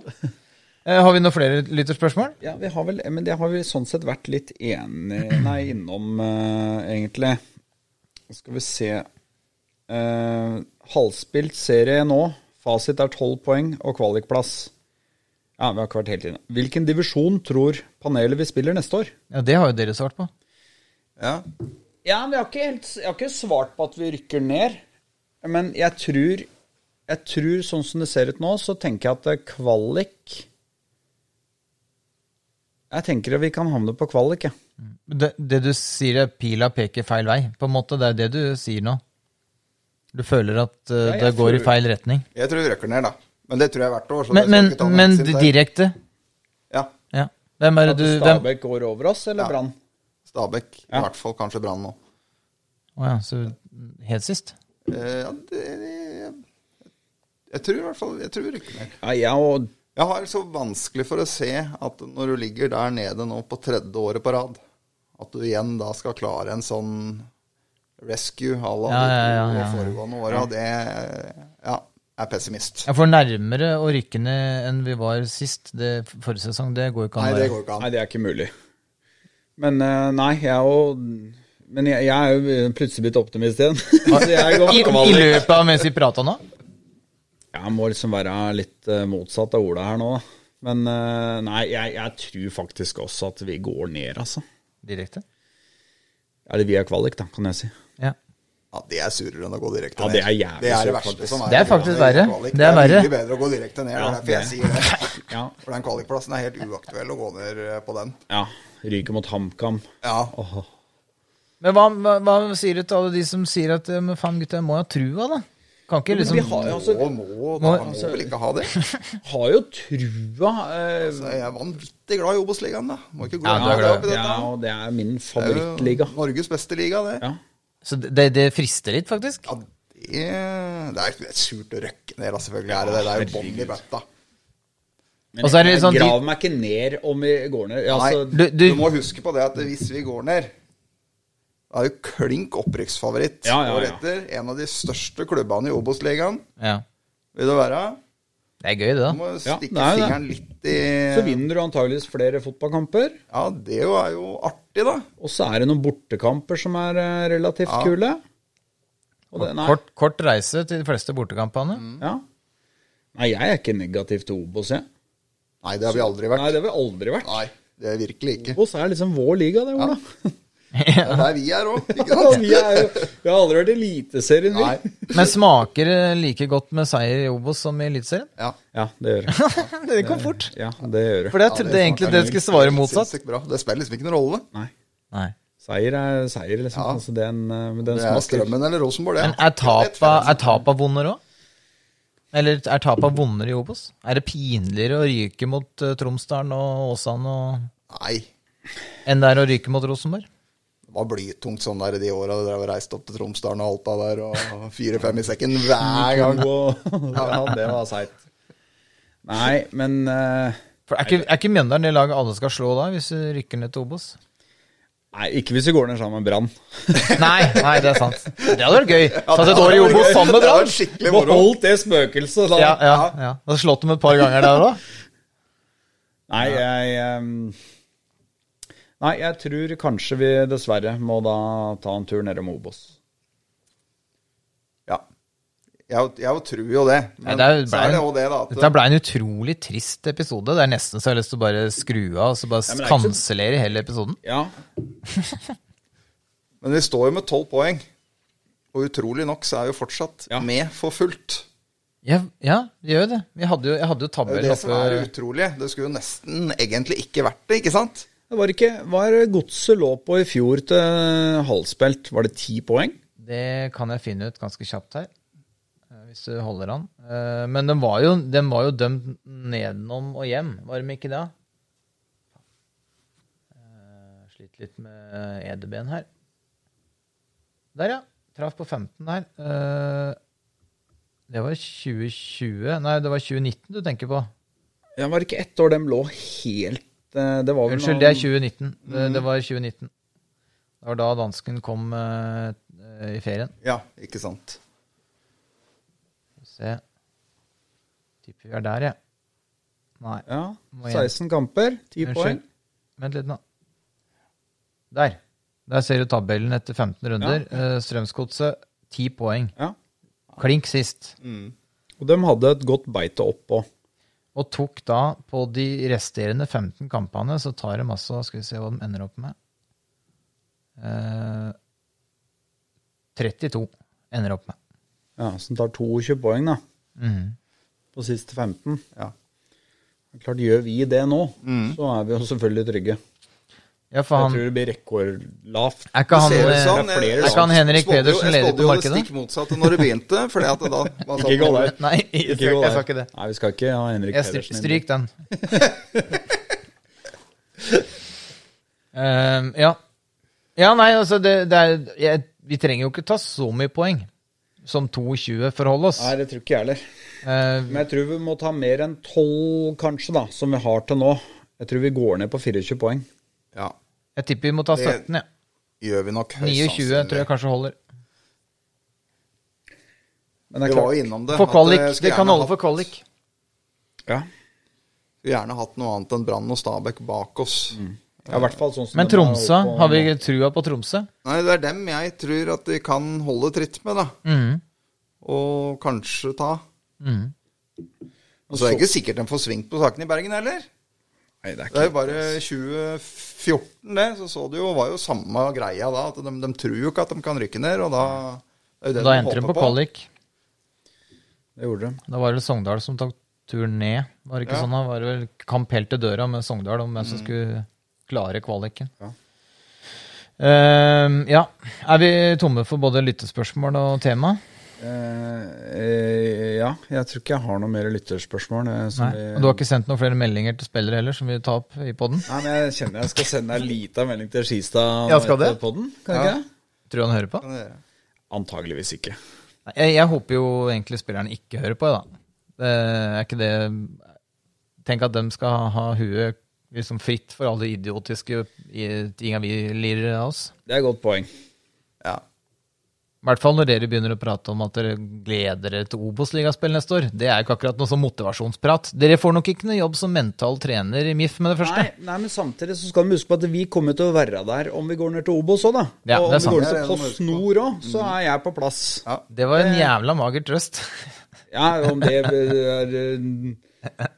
[SPEAKER 2] Eh, Har vi noen flere lytterspørsmål?
[SPEAKER 3] Ja, vi har vel, Men det har vi sånn sett vært litt enige Nei, innom, eh, egentlig. Nå skal vi se Eh, Halvspilt serie nå. Fasit er tolv poeng og kvalikplass. Ja, vi har ikke vært helt inne. Hvilken divisjon tror panelet vi spiller neste år?
[SPEAKER 2] Ja, Det har jo dere svart på.
[SPEAKER 4] Ja.
[SPEAKER 3] Ja, men jeg har ikke, helt, jeg har ikke svart på at vi rykker ned. Men jeg tror, jeg tror, sånn som det ser ut nå, så tenker jeg at eh, kvalik Jeg tenker at vi kan havne på kvalik, jeg.
[SPEAKER 2] Det, det du sier er pila peker feil vei, på en måte. Det er det du sier nå. Du føler at eh,
[SPEAKER 3] Ja, jeg
[SPEAKER 2] det går
[SPEAKER 3] tror-
[SPEAKER 2] i feil retning.
[SPEAKER 4] Jeg tror vi røkker ned, da. Men det tror jeg hvert år. Så
[SPEAKER 2] Men,
[SPEAKER 4] det skal
[SPEAKER 2] men,
[SPEAKER 4] ikke ta noe
[SPEAKER 2] men
[SPEAKER 4] hensyn til.
[SPEAKER 2] direkte?
[SPEAKER 4] Ja.
[SPEAKER 2] Ja. Hvem er det
[SPEAKER 3] At
[SPEAKER 2] du hvem?
[SPEAKER 3] Stabæk går over oss, eller
[SPEAKER 4] Ja.
[SPEAKER 3] Brann?
[SPEAKER 4] Stabæk. I hvert fall kanskje Brann nå.
[SPEAKER 2] Å ja, så helt sist?
[SPEAKER 4] Eh, ja, det, jeg, jeg tror i hvert fall Jeg tror vi rykker ned.
[SPEAKER 3] Ja, jeg og
[SPEAKER 4] Jeg har så vanskelig for å se at når du ligger der nede nå på tredje året på rad, at du igjen da skal klare en sånn rescue à la
[SPEAKER 2] Ja, ja, ja,
[SPEAKER 4] de
[SPEAKER 2] ja.
[SPEAKER 4] to foregående åra, det ja, er pessimist.
[SPEAKER 2] Ja, for nærmere å rykke ned enn vi var sist det forrige sesong, det går jo ikke
[SPEAKER 4] Nei,
[SPEAKER 2] an. å
[SPEAKER 4] det
[SPEAKER 2] være.
[SPEAKER 4] går ikke
[SPEAKER 3] Nei,
[SPEAKER 4] an.
[SPEAKER 3] det er ikke mulig. Men eh, nei, jeg er jo Men jeg, jeg er jo plutselig blitt optimist igjen. så jeg
[SPEAKER 2] I,
[SPEAKER 3] går for
[SPEAKER 2] I
[SPEAKER 3] kvalik.
[SPEAKER 2] løpet av mens vi prata nå?
[SPEAKER 3] Jeg må liksom være litt eh, motsatt av Ola her nå. da. Men eh, nei, jeg, jeg tror faktisk også at vi går ned, altså.
[SPEAKER 2] Direkte?
[SPEAKER 3] Eller via kvalik, da, kan jeg si.
[SPEAKER 2] Ja.
[SPEAKER 4] Ja, det er surere enn å gå direkte
[SPEAKER 3] Ja,
[SPEAKER 4] ned.
[SPEAKER 3] det er jævlig
[SPEAKER 4] det, er det
[SPEAKER 3] surt,
[SPEAKER 4] verste
[SPEAKER 3] faktisk.
[SPEAKER 4] som er
[SPEAKER 2] Det er
[SPEAKER 4] å gå
[SPEAKER 2] faktisk
[SPEAKER 4] ned i
[SPEAKER 2] verre.
[SPEAKER 4] kvalik.
[SPEAKER 2] Det er
[SPEAKER 4] Det
[SPEAKER 2] verre.
[SPEAKER 4] er mye bedre å gå direkte ned.
[SPEAKER 3] Ja,
[SPEAKER 4] det er derfor jeg sier det.
[SPEAKER 3] Ja,
[SPEAKER 4] For den kvalikplassen er helt uaktuell å gå ned eh, på den.
[SPEAKER 3] ja. Ryker mot HamKam.
[SPEAKER 4] Ja,
[SPEAKER 3] Åh.
[SPEAKER 2] Men hva, hva, hva sier du til alle de som sier at eh, men faen, gutta, jeg må ha trua, da? Kan ikke liksom
[SPEAKER 3] Vi har, altså,
[SPEAKER 4] og må, da,
[SPEAKER 2] Må-
[SPEAKER 4] må vel ikke ha det.
[SPEAKER 3] har jo trua. eh,
[SPEAKER 4] Så jeg er vanvittig glad i Obos-ligaen, da. Må ikke gå
[SPEAKER 2] Ja, du Altså, er
[SPEAKER 4] ned
[SPEAKER 2] glad.
[SPEAKER 4] opp i
[SPEAKER 3] ja,
[SPEAKER 4] dette.
[SPEAKER 3] og det er min
[SPEAKER 4] Det er jo
[SPEAKER 3] favorittliga.
[SPEAKER 4] Norges beste liga, det.
[SPEAKER 3] Ja.
[SPEAKER 2] Så det, det frister litt, faktisk?
[SPEAKER 4] Ja, det, det er ikke- det er surt å røkke ned, da, selvfølgelig. Er det, det. det er jo bånn i bøtta.
[SPEAKER 3] Men
[SPEAKER 2] Og så er det
[SPEAKER 3] jeg
[SPEAKER 2] sånn-
[SPEAKER 3] graver meg ikke ned om vi går ned. Altså,
[SPEAKER 4] Nei.
[SPEAKER 2] Du, du,
[SPEAKER 4] Du må huske på det at hvis vi går ned da er jo klink opprykksfavoritt
[SPEAKER 3] Ja, ja,
[SPEAKER 4] året
[SPEAKER 3] ja.
[SPEAKER 4] etter. En av de største klubbene i Obos-ligaen
[SPEAKER 2] ja.
[SPEAKER 4] vil det være.
[SPEAKER 2] Det er gøy, det,
[SPEAKER 4] Du
[SPEAKER 2] da.
[SPEAKER 4] må
[SPEAKER 3] Ja,
[SPEAKER 4] stikke
[SPEAKER 3] det er jo det.
[SPEAKER 4] fingeren litt i
[SPEAKER 3] Så vinner du antageligvis flere fotballkamper.
[SPEAKER 4] Ja, det jo er jo artig, da.
[SPEAKER 3] Og så er det noen bortekamper som er eh, relativt
[SPEAKER 4] Ja.
[SPEAKER 3] kule. Og det, nei, Mm.
[SPEAKER 2] Kort, kort reise til de fleste bortekampene.
[SPEAKER 3] Ja. nei, jeg er ikke negativ til Obos, jeg.
[SPEAKER 4] Nei, det har vi aldri
[SPEAKER 3] Nei,
[SPEAKER 4] vært.
[SPEAKER 3] det har vi aldri vært.
[SPEAKER 4] Nei, det er virkelig ikke.
[SPEAKER 3] Obos er liksom vår liga, det, Ola.
[SPEAKER 4] Det er der vi er òg, ikke
[SPEAKER 3] Ja,
[SPEAKER 4] sant?
[SPEAKER 3] vi, er jo, vi har aldri vært i Eliteserien, vi.
[SPEAKER 4] Nei.
[SPEAKER 2] Men smaker det like godt med seier i Obos som i Eliteserien?
[SPEAKER 4] Ja.
[SPEAKER 3] Ja, det gjør det.
[SPEAKER 2] Det kom fort.
[SPEAKER 3] Ja, det gjør det.
[SPEAKER 2] For jeg trodde egentlig dere skulle svare motsatt.
[SPEAKER 4] Sinnssykt bra. Det spiller liksom ikke noen rolle.
[SPEAKER 3] Nei.
[SPEAKER 2] Nei.
[SPEAKER 3] Seier er seier, liksom.
[SPEAKER 4] Ja.
[SPEAKER 3] Altså, den, eh, men den
[SPEAKER 4] Det er
[SPEAKER 3] smaker
[SPEAKER 4] Strømmen eller Rosenborg, det.
[SPEAKER 2] Men er tapa, er tapa vonder òg? Eller er tapa vonder i Obos? Er det pinligere å ryke mot eh, Tromsdalen og Åsane og
[SPEAKER 4] Nei.
[SPEAKER 2] enn det er å ryke mot Rosenborg?
[SPEAKER 4] Det var blytungt sånn der i de åra dere reiste opp til Tromsdalen og Alta der, og fire-fem i sekken hver gang.
[SPEAKER 3] Ja, det var seigt. Nei, men eh,
[SPEAKER 2] For Er ikke, er ikke Mjøndalen det laget alle skal slå da, hvis du rykker ned til Obos?
[SPEAKER 3] Nei, ikke hvis vi går ned sammen med Brann.
[SPEAKER 2] Nei, nei, det er sant. Det hadde vært gøy. Tatt et år i
[SPEAKER 4] hadde vært
[SPEAKER 2] Obos
[SPEAKER 4] gøy.
[SPEAKER 2] sammen med
[SPEAKER 4] Det hadde
[SPEAKER 2] Brann.
[SPEAKER 4] vært skikkelig moro.
[SPEAKER 3] Beholdt det spøkelset, da.
[SPEAKER 2] Ja, ja, ja. Og slått dem et par ganger der òg.
[SPEAKER 3] Nei, jeg ehm, Nei, jeg tror kanskje vi dessverre må da ta en tur nedom Obos.
[SPEAKER 4] Ja. Jeg, jeg tror jo det.
[SPEAKER 2] Nei,
[SPEAKER 4] Men
[SPEAKER 2] det er,
[SPEAKER 4] så
[SPEAKER 2] ble,
[SPEAKER 4] er det jo det, da.
[SPEAKER 2] dette
[SPEAKER 4] At,
[SPEAKER 2] ble en utrolig trist episode. Det er nesten så jeg har lyst til å bare skru av og så bare
[SPEAKER 3] Ja, men det er ikke så-
[SPEAKER 2] kansellere hele episoden.
[SPEAKER 3] Ja.
[SPEAKER 4] men vi står jo med tolv poeng. Og utrolig nok så er vi jo fortsatt
[SPEAKER 3] Ja.
[SPEAKER 4] med for fullt.
[SPEAKER 2] Ja, ja vi gjør jo det. Vi hadde jo, jeg hadde jo
[SPEAKER 4] Det er
[SPEAKER 2] tabell
[SPEAKER 4] jo det som
[SPEAKER 2] oppe.
[SPEAKER 4] er det utrolige. Det skulle jo nesten egentlig ikke vært det, ikke sant?
[SPEAKER 3] Det var ikke Hva er det godset lå på i fjor til halvspilt? Var det ti poeng?
[SPEAKER 2] Det kan jeg finne ut ganske kjapt her. eh, Hvis du holder an. Eh, Men den var jo, den var jo dømt nedenom og hjem, var de ikke det? Eh, Sliter litt med edeben her. Der, ja. Traff på 15 her. Eh, Det var 2020 Nei, det var 2019 du tenker på.
[SPEAKER 3] Ja, var det ikke ett år dem lå helt eh, Det var vel
[SPEAKER 2] Unnskyld, det er 2019. Det, det var 2019. Det var da dansken kom eh, eh, i ferien.
[SPEAKER 4] Ja, ikke sant.
[SPEAKER 2] Skal vi Se. Tipper vi er der, jeg. Nei.
[SPEAKER 3] Ja.
[SPEAKER 2] Må igjen.
[SPEAKER 3] 16 kamper, 10 poeng.
[SPEAKER 2] Unnskyld. Vent litt, nå. Der. Der ser du tabellen etter 15 runder. Ja. Strømsgodset 10 poeng.
[SPEAKER 3] Ja.
[SPEAKER 2] Klink sist.
[SPEAKER 3] Mm. Og dem hadde et godt beite oppå.
[SPEAKER 2] Og tok da på de resterende 15 kampene, så tar de altså Skal vi se hva de ender opp med. Eh, 32 ender opp med.
[SPEAKER 3] Ja, som tar 22 poeng, da.
[SPEAKER 2] Mhm.
[SPEAKER 3] På siste 15.
[SPEAKER 4] Ja.
[SPEAKER 3] Klart gjør vi det nå,
[SPEAKER 2] Mhm.
[SPEAKER 3] så er vi jo selvfølgelig trygge.
[SPEAKER 2] Ja, for
[SPEAKER 3] Jeg
[SPEAKER 2] han,
[SPEAKER 3] tror det blir rekordlavt.
[SPEAKER 2] er ikke han
[SPEAKER 4] Det ser sånn. ut som-
[SPEAKER 2] eh,
[SPEAKER 3] det er
[SPEAKER 4] jeg-
[SPEAKER 3] flere lag. Er ikke
[SPEAKER 2] han Henrik
[SPEAKER 4] spådde jo-
[SPEAKER 2] Pedersen leder på
[SPEAKER 4] Jeg spådde jo
[SPEAKER 2] markedet?
[SPEAKER 4] det stikk motsatte når det begynte. Fordi at det da hva sa
[SPEAKER 3] Ikke
[SPEAKER 4] du?
[SPEAKER 3] gå der.
[SPEAKER 2] Nei, jeg
[SPEAKER 3] Ikke gå
[SPEAKER 2] skal- jeg
[SPEAKER 3] der.
[SPEAKER 2] sa ikke det.
[SPEAKER 3] Nei, vi skal ikke ha Henrik
[SPEAKER 2] Jeg stryk,
[SPEAKER 3] Pedersen inn.
[SPEAKER 2] stryk den. Ehm, ja. Ja, nei, altså det, det er jeg, Vi trenger jo ikke ta så mye poeng som 22 for å holde oss.
[SPEAKER 3] Nei, det tror ikke jeg heller.
[SPEAKER 2] Ehm,
[SPEAKER 3] Men jeg tror vi må ta mer enn 12, kanskje, da, som vi har til nå. Jeg tror vi går ned på 24 poeng.
[SPEAKER 4] Ja,
[SPEAKER 2] jeg tipper vi må ta 17, ja.
[SPEAKER 4] gjør vi nok høyst
[SPEAKER 2] 29 tror jeg
[SPEAKER 4] sannsynlig.
[SPEAKER 2] kanskje holder.
[SPEAKER 3] Men det
[SPEAKER 4] Vi
[SPEAKER 3] er
[SPEAKER 4] var jo
[SPEAKER 3] klart
[SPEAKER 4] innom det.
[SPEAKER 2] For
[SPEAKER 4] at, eh,
[SPEAKER 2] kvalik.
[SPEAKER 4] skulle
[SPEAKER 2] Det kan
[SPEAKER 4] gjerne
[SPEAKER 2] holde for
[SPEAKER 4] hatt-
[SPEAKER 2] kvalik.
[SPEAKER 3] ja.
[SPEAKER 4] Skulle gjerne hatt noe annet enn Brann og Stabæk bak oss.
[SPEAKER 2] Mm.
[SPEAKER 3] ja, i hvert fall sånn som
[SPEAKER 2] Men
[SPEAKER 3] de er
[SPEAKER 2] Tromsø,
[SPEAKER 3] oppå
[SPEAKER 2] har
[SPEAKER 3] nå.
[SPEAKER 2] vi trua på Tromsø?
[SPEAKER 4] Nei, det er dem jeg tror at vi kan holde tritt med, da.
[SPEAKER 2] Mhm.
[SPEAKER 4] Og kanskje ta.
[SPEAKER 2] Mhm.
[SPEAKER 4] Og så er det ikke sikkert de får svingt på sakene i Bergen heller.
[SPEAKER 3] Nei, det er
[SPEAKER 4] Det er jo
[SPEAKER 3] ikke
[SPEAKER 4] bare 2014, det. Så så det jo var jo samme greia da. At de, de tror jo ikke at de kan rykke ned, og da det er jo det
[SPEAKER 2] Da endte de
[SPEAKER 4] håper
[SPEAKER 2] på kvalik.
[SPEAKER 3] Det gjorde de.
[SPEAKER 2] Da var det Sogndal som tok turen ned. Var det ikke
[SPEAKER 4] Ja.
[SPEAKER 2] sånn da? Var det vel kamp helt til døra med Sogndal om hvem som skulle klare kvaliken.
[SPEAKER 3] Mm. Ja.
[SPEAKER 2] Ehm, ja. Er vi tomme for både lyttespørsmål og tema?
[SPEAKER 3] Eh, eh, ja, jeg tror ikke jeg har noe mer lytterspørsmål. eh, som
[SPEAKER 2] Nei.
[SPEAKER 3] vi-
[SPEAKER 2] Og du har ikke sendt noen flere meldinger til spillere heller, som vi tar opp i poden?
[SPEAKER 3] Nei, men jeg kjenner jeg skal sende deg en liten melding til Skistad
[SPEAKER 2] Ja, skal det?
[SPEAKER 3] på den. Kan
[SPEAKER 4] Ja.
[SPEAKER 3] ikke det?
[SPEAKER 2] Tror du han hører på?
[SPEAKER 4] Kan dere-
[SPEAKER 3] Antageligvis ikke.
[SPEAKER 2] Nei, Jeg, jeg håper jo egentlig spillerne ikke hører på, da. Det er ikke det Tenk at de skal ha huet liksom fritt for alle de idiotiske i- tinga vi lirer av oss.
[SPEAKER 3] Det er et godt poeng.
[SPEAKER 4] Ja.
[SPEAKER 2] I hvert fall når dere begynner å prate om at dere gleder dere til Obos-ligaspill neste år. Det er jo ikke akkurat noe sånn motivasjonsprat. Dere får nok ikke noe jobb som mental trener i MIF med det første.
[SPEAKER 3] Nei, nei, men samtidig så skal vi huske på at vi kommer til å være der om vi går ned til Obos òg, da.
[SPEAKER 2] Ja,
[SPEAKER 3] og om
[SPEAKER 2] det er
[SPEAKER 3] vi går
[SPEAKER 2] sant.
[SPEAKER 3] ned til Post Nord òg, så
[SPEAKER 2] Mm.
[SPEAKER 3] er jeg på plass.
[SPEAKER 4] Ja.
[SPEAKER 2] Det var en jævla mager trøst.
[SPEAKER 3] Ja, om det er eh,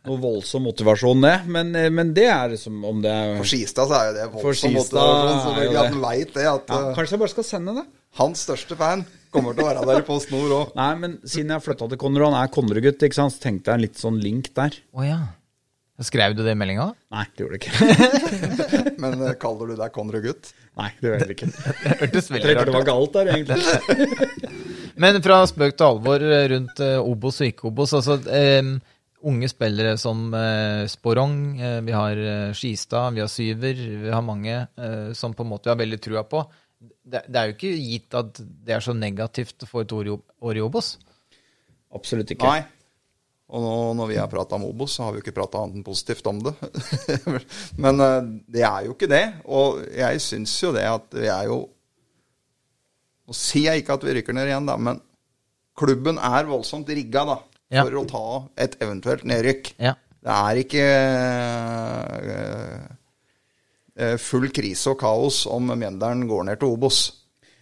[SPEAKER 3] noe voldsom motivasjon, det. Men, eh, men det er som om det er
[SPEAKER 4] For Skistad så er jo det
[SPEAKER 3] For
[SPEAKER 4] voldsomt.
[SPEAKER 3] Skistad er jo
[SPEAKER 4] Selvfølgelig
[SPEAKER 3] det.
[SPEAKER 4] at han veit det, at
[SPEAKER 3] ja,
[SPEAKER 4] eh,
[SPEAKER 3] Kanskje jeg bare skal sende det?
[SPEAKER 4] hans største fan kommer til å være der i Post Nord òg.
[SPEAKER 3] Nei, men siden jeg flytta til Konrad, han er Konrad-gutt, ikke sant, så tenkte jeg en litt sånn link der.
[SPEAKER 2] Å ja. Skrev du det i meldinga?
[SPEAKER 3] Nei, det gjorde jeg ikke.
[SPEAKER 4] Men eh, kaller du deg Konrad Gutt?
[SPEAKER 3] Nei, det gjorde jeg ikke.
[SPEAKER 2] Det hørtes veldig
[SPEAKER 3] Jeg tenkte
[SPEAKER 2] rart
[SPEAKER 3] det var galt der, egentlig.
[SPEAKER 2] ut. Men fra spøk til alvor eh, rundt eh, Obos og ikke Obos. Altså, eh, unge spillere som eh, Sporong, eh, vi har eh, Skistad, vi har Syver. Vi har mange eh, som på en måte vi har veldig trua på. Det, det er jo ikke gitt at det er så negativt å få et år i Ob- år i Obos.
[SPEAKER 3] Absolutt ikke.
[SPEAKER 4] Nei. Og nå når vi har prata om Obos, så har vi jo ikke prata annet enn positivt om det. Men eh, det er jo ikke det. Og jeg syns jo det at vi er jo Nå sier jeg ikke at vi rykker ned igjen, da, men klubben er voldsomt rigga da,
[SPEAKER 2] Ja.
[SPEAKER 4] for å ta et eventuelt nedrykk.
[SPEAKER 2] Ja.
[SPEAKER 4] Det er ikke eh, eh, full krise og kaos om Mjøndalen går ned til Obos.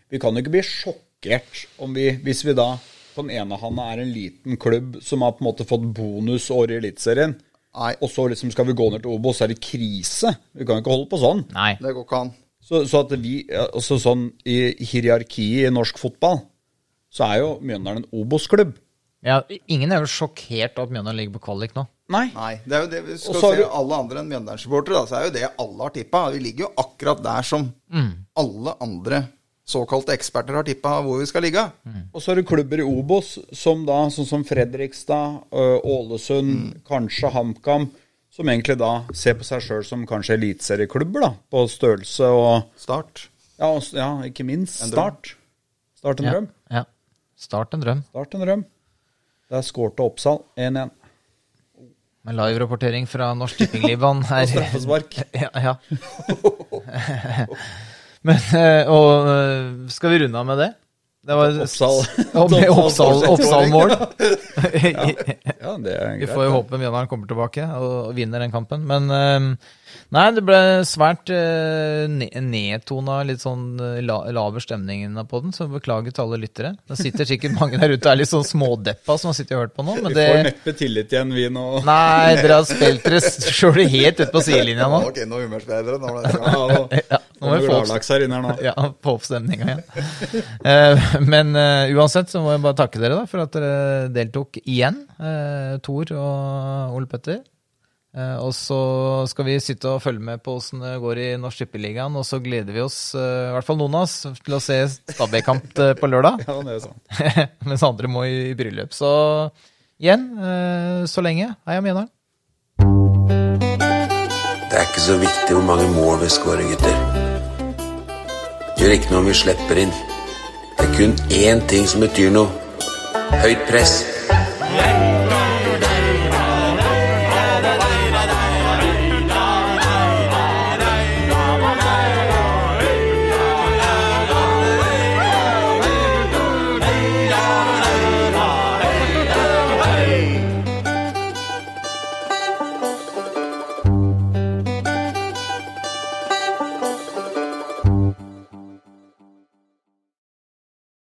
[SPEAKER 3] Vi kan jo ikke bli sjokkert om vi, hvis vi da på den ene handa er en liten klubb som har på en måte fått bonusår i Eliteserien,
[SPEAKER 4] Nei.
[SPEAKER 3] og så liksom skal vi gå ned til Obos, så er det krise. Vi kan jo ikke holde på sånn.
[SPEAKER 2] Nei.
[SPEAKER 4] Det går ikke an.
[SPEAKER 3] Så, så at vi, altså sånn i hierarkiet i norsk fotball, så er jo Mjøndalen en Obos-klubb.
[SPEAKER 2] Ja, ingen er jo sjokkert over at Mjøndalen ligger på kvalik nå.
[SPEAKER 3] Nei.
[SPEAKER 4] Nei, det er jo det vi skal
[SPEAKER 3] Og så har
[SPEAKER 4] se
[SPEAKER 3] du-
[SPEAKER 4] alle andre enn Mjøndalen-supportere, da, så er jo det alle har tippa. Vi ligger jo akkurat der som alle andre såkalte eksperter har tippa hvor vi skal ligge.
[SPEAKER 3] Og så er det klubber i Obos, som da, sånn som Fredrikstad, ø, Ålesund, kanskje HamKam, som egentlig da ser på seg sjøl som kanskje eliteserieklubber, da, på størrelse og
[SPEAKER 4] Start.
[SPEAKER 3] Ja, og, s- ja ikke minst
[SPEAKER 4] En drøm.
[SPEAKER 3] Start. Start en
[SPEAKER 2] Ja.
[SPEAKER 3] drøm.
[SPEAKER 2] ja. Start en drøm.
[SPEAKER 3] Start en drøm. Der skårte Oppsal 1-1.
[SPEAKER 2] Med live-rapportering fra Norsk Tipping-Liban her.
[SPEAKER 3] Og straffespark.
[SPEAKER 2] ja, ja. Men, eh, og eh, skal vi runde av med det? Det var
[SPEAKER 3] Oppsal.
[SPEAKER 2] Og med Oppsal, Oppsal-mål.
[SPEAKER 3] Ja, det er
[SPEAKER 2] Vi
[SPEAKER 3] greit.
[SPEAKER 2] får jo håpe Mjøndalen kommer tilbake og vinner den kampen. Men eh, nei, det ble svært eh, ne- nedtona, litt sånn eh, la, laver stemning inne på den. Så beklager til alle lyttere. Det sitter sikkert mange der ute og er litt sånn smådeppa som har sittet og hørt på nå. Men
[SPEAKER 3] Vi
[SPEAKER 2] det,
[SPEAKER 3] får neppe tillit igjen, vi nå.
[SPEAKER 2] Nei, dere har spilt dere sjøl helt ut på sidelinja nå.
[SPEAKER 4] Ok, nå humørspreder det. Nå ble det bra.
[SPEAKER 3] Ja, og,
[SPEAKER 2] Ja, nå
[SPEAKER 3] nå
[SPEAKER 2] må
[SPEAKER 3] er
[SPEAKER 2] vi
[SPEAKER 3] det
[SPEAKER 2] få opp,
[SPEAKER 3] gladlaks her inne her nå.
[SPEAKER 2] ja, få opp stemninga igjen. Eh, men eh, uansett så må jeg bare takke dere da, for at dere deltok igjen, uh, Tor og Ole Petter. Eh, og så skal vi sitte og følge med på åssen det går i Norsk Tippeligaen, og så gleder vi oss, eh, i hvert fall noen av oss, til å se Stabæk-kamp eh, på lørdag.
[SPEAKER 3] Ja, det er
[SPEAKER 4] sånn.
[SPEAKER 3] sant.
[SPEAKER 2] Mens andre må i bryllup. Så igjen, eh, så lenge. Heia Mjøndalen.
[SPEAKER 1] Det er ikke så viktig hvor mange mål vi skårer, gutter. Det gjør ikke noe om vi slipper inn. Det er kun én ting som betyr noe. Høyt press.
[SPEAKER 5] Jeg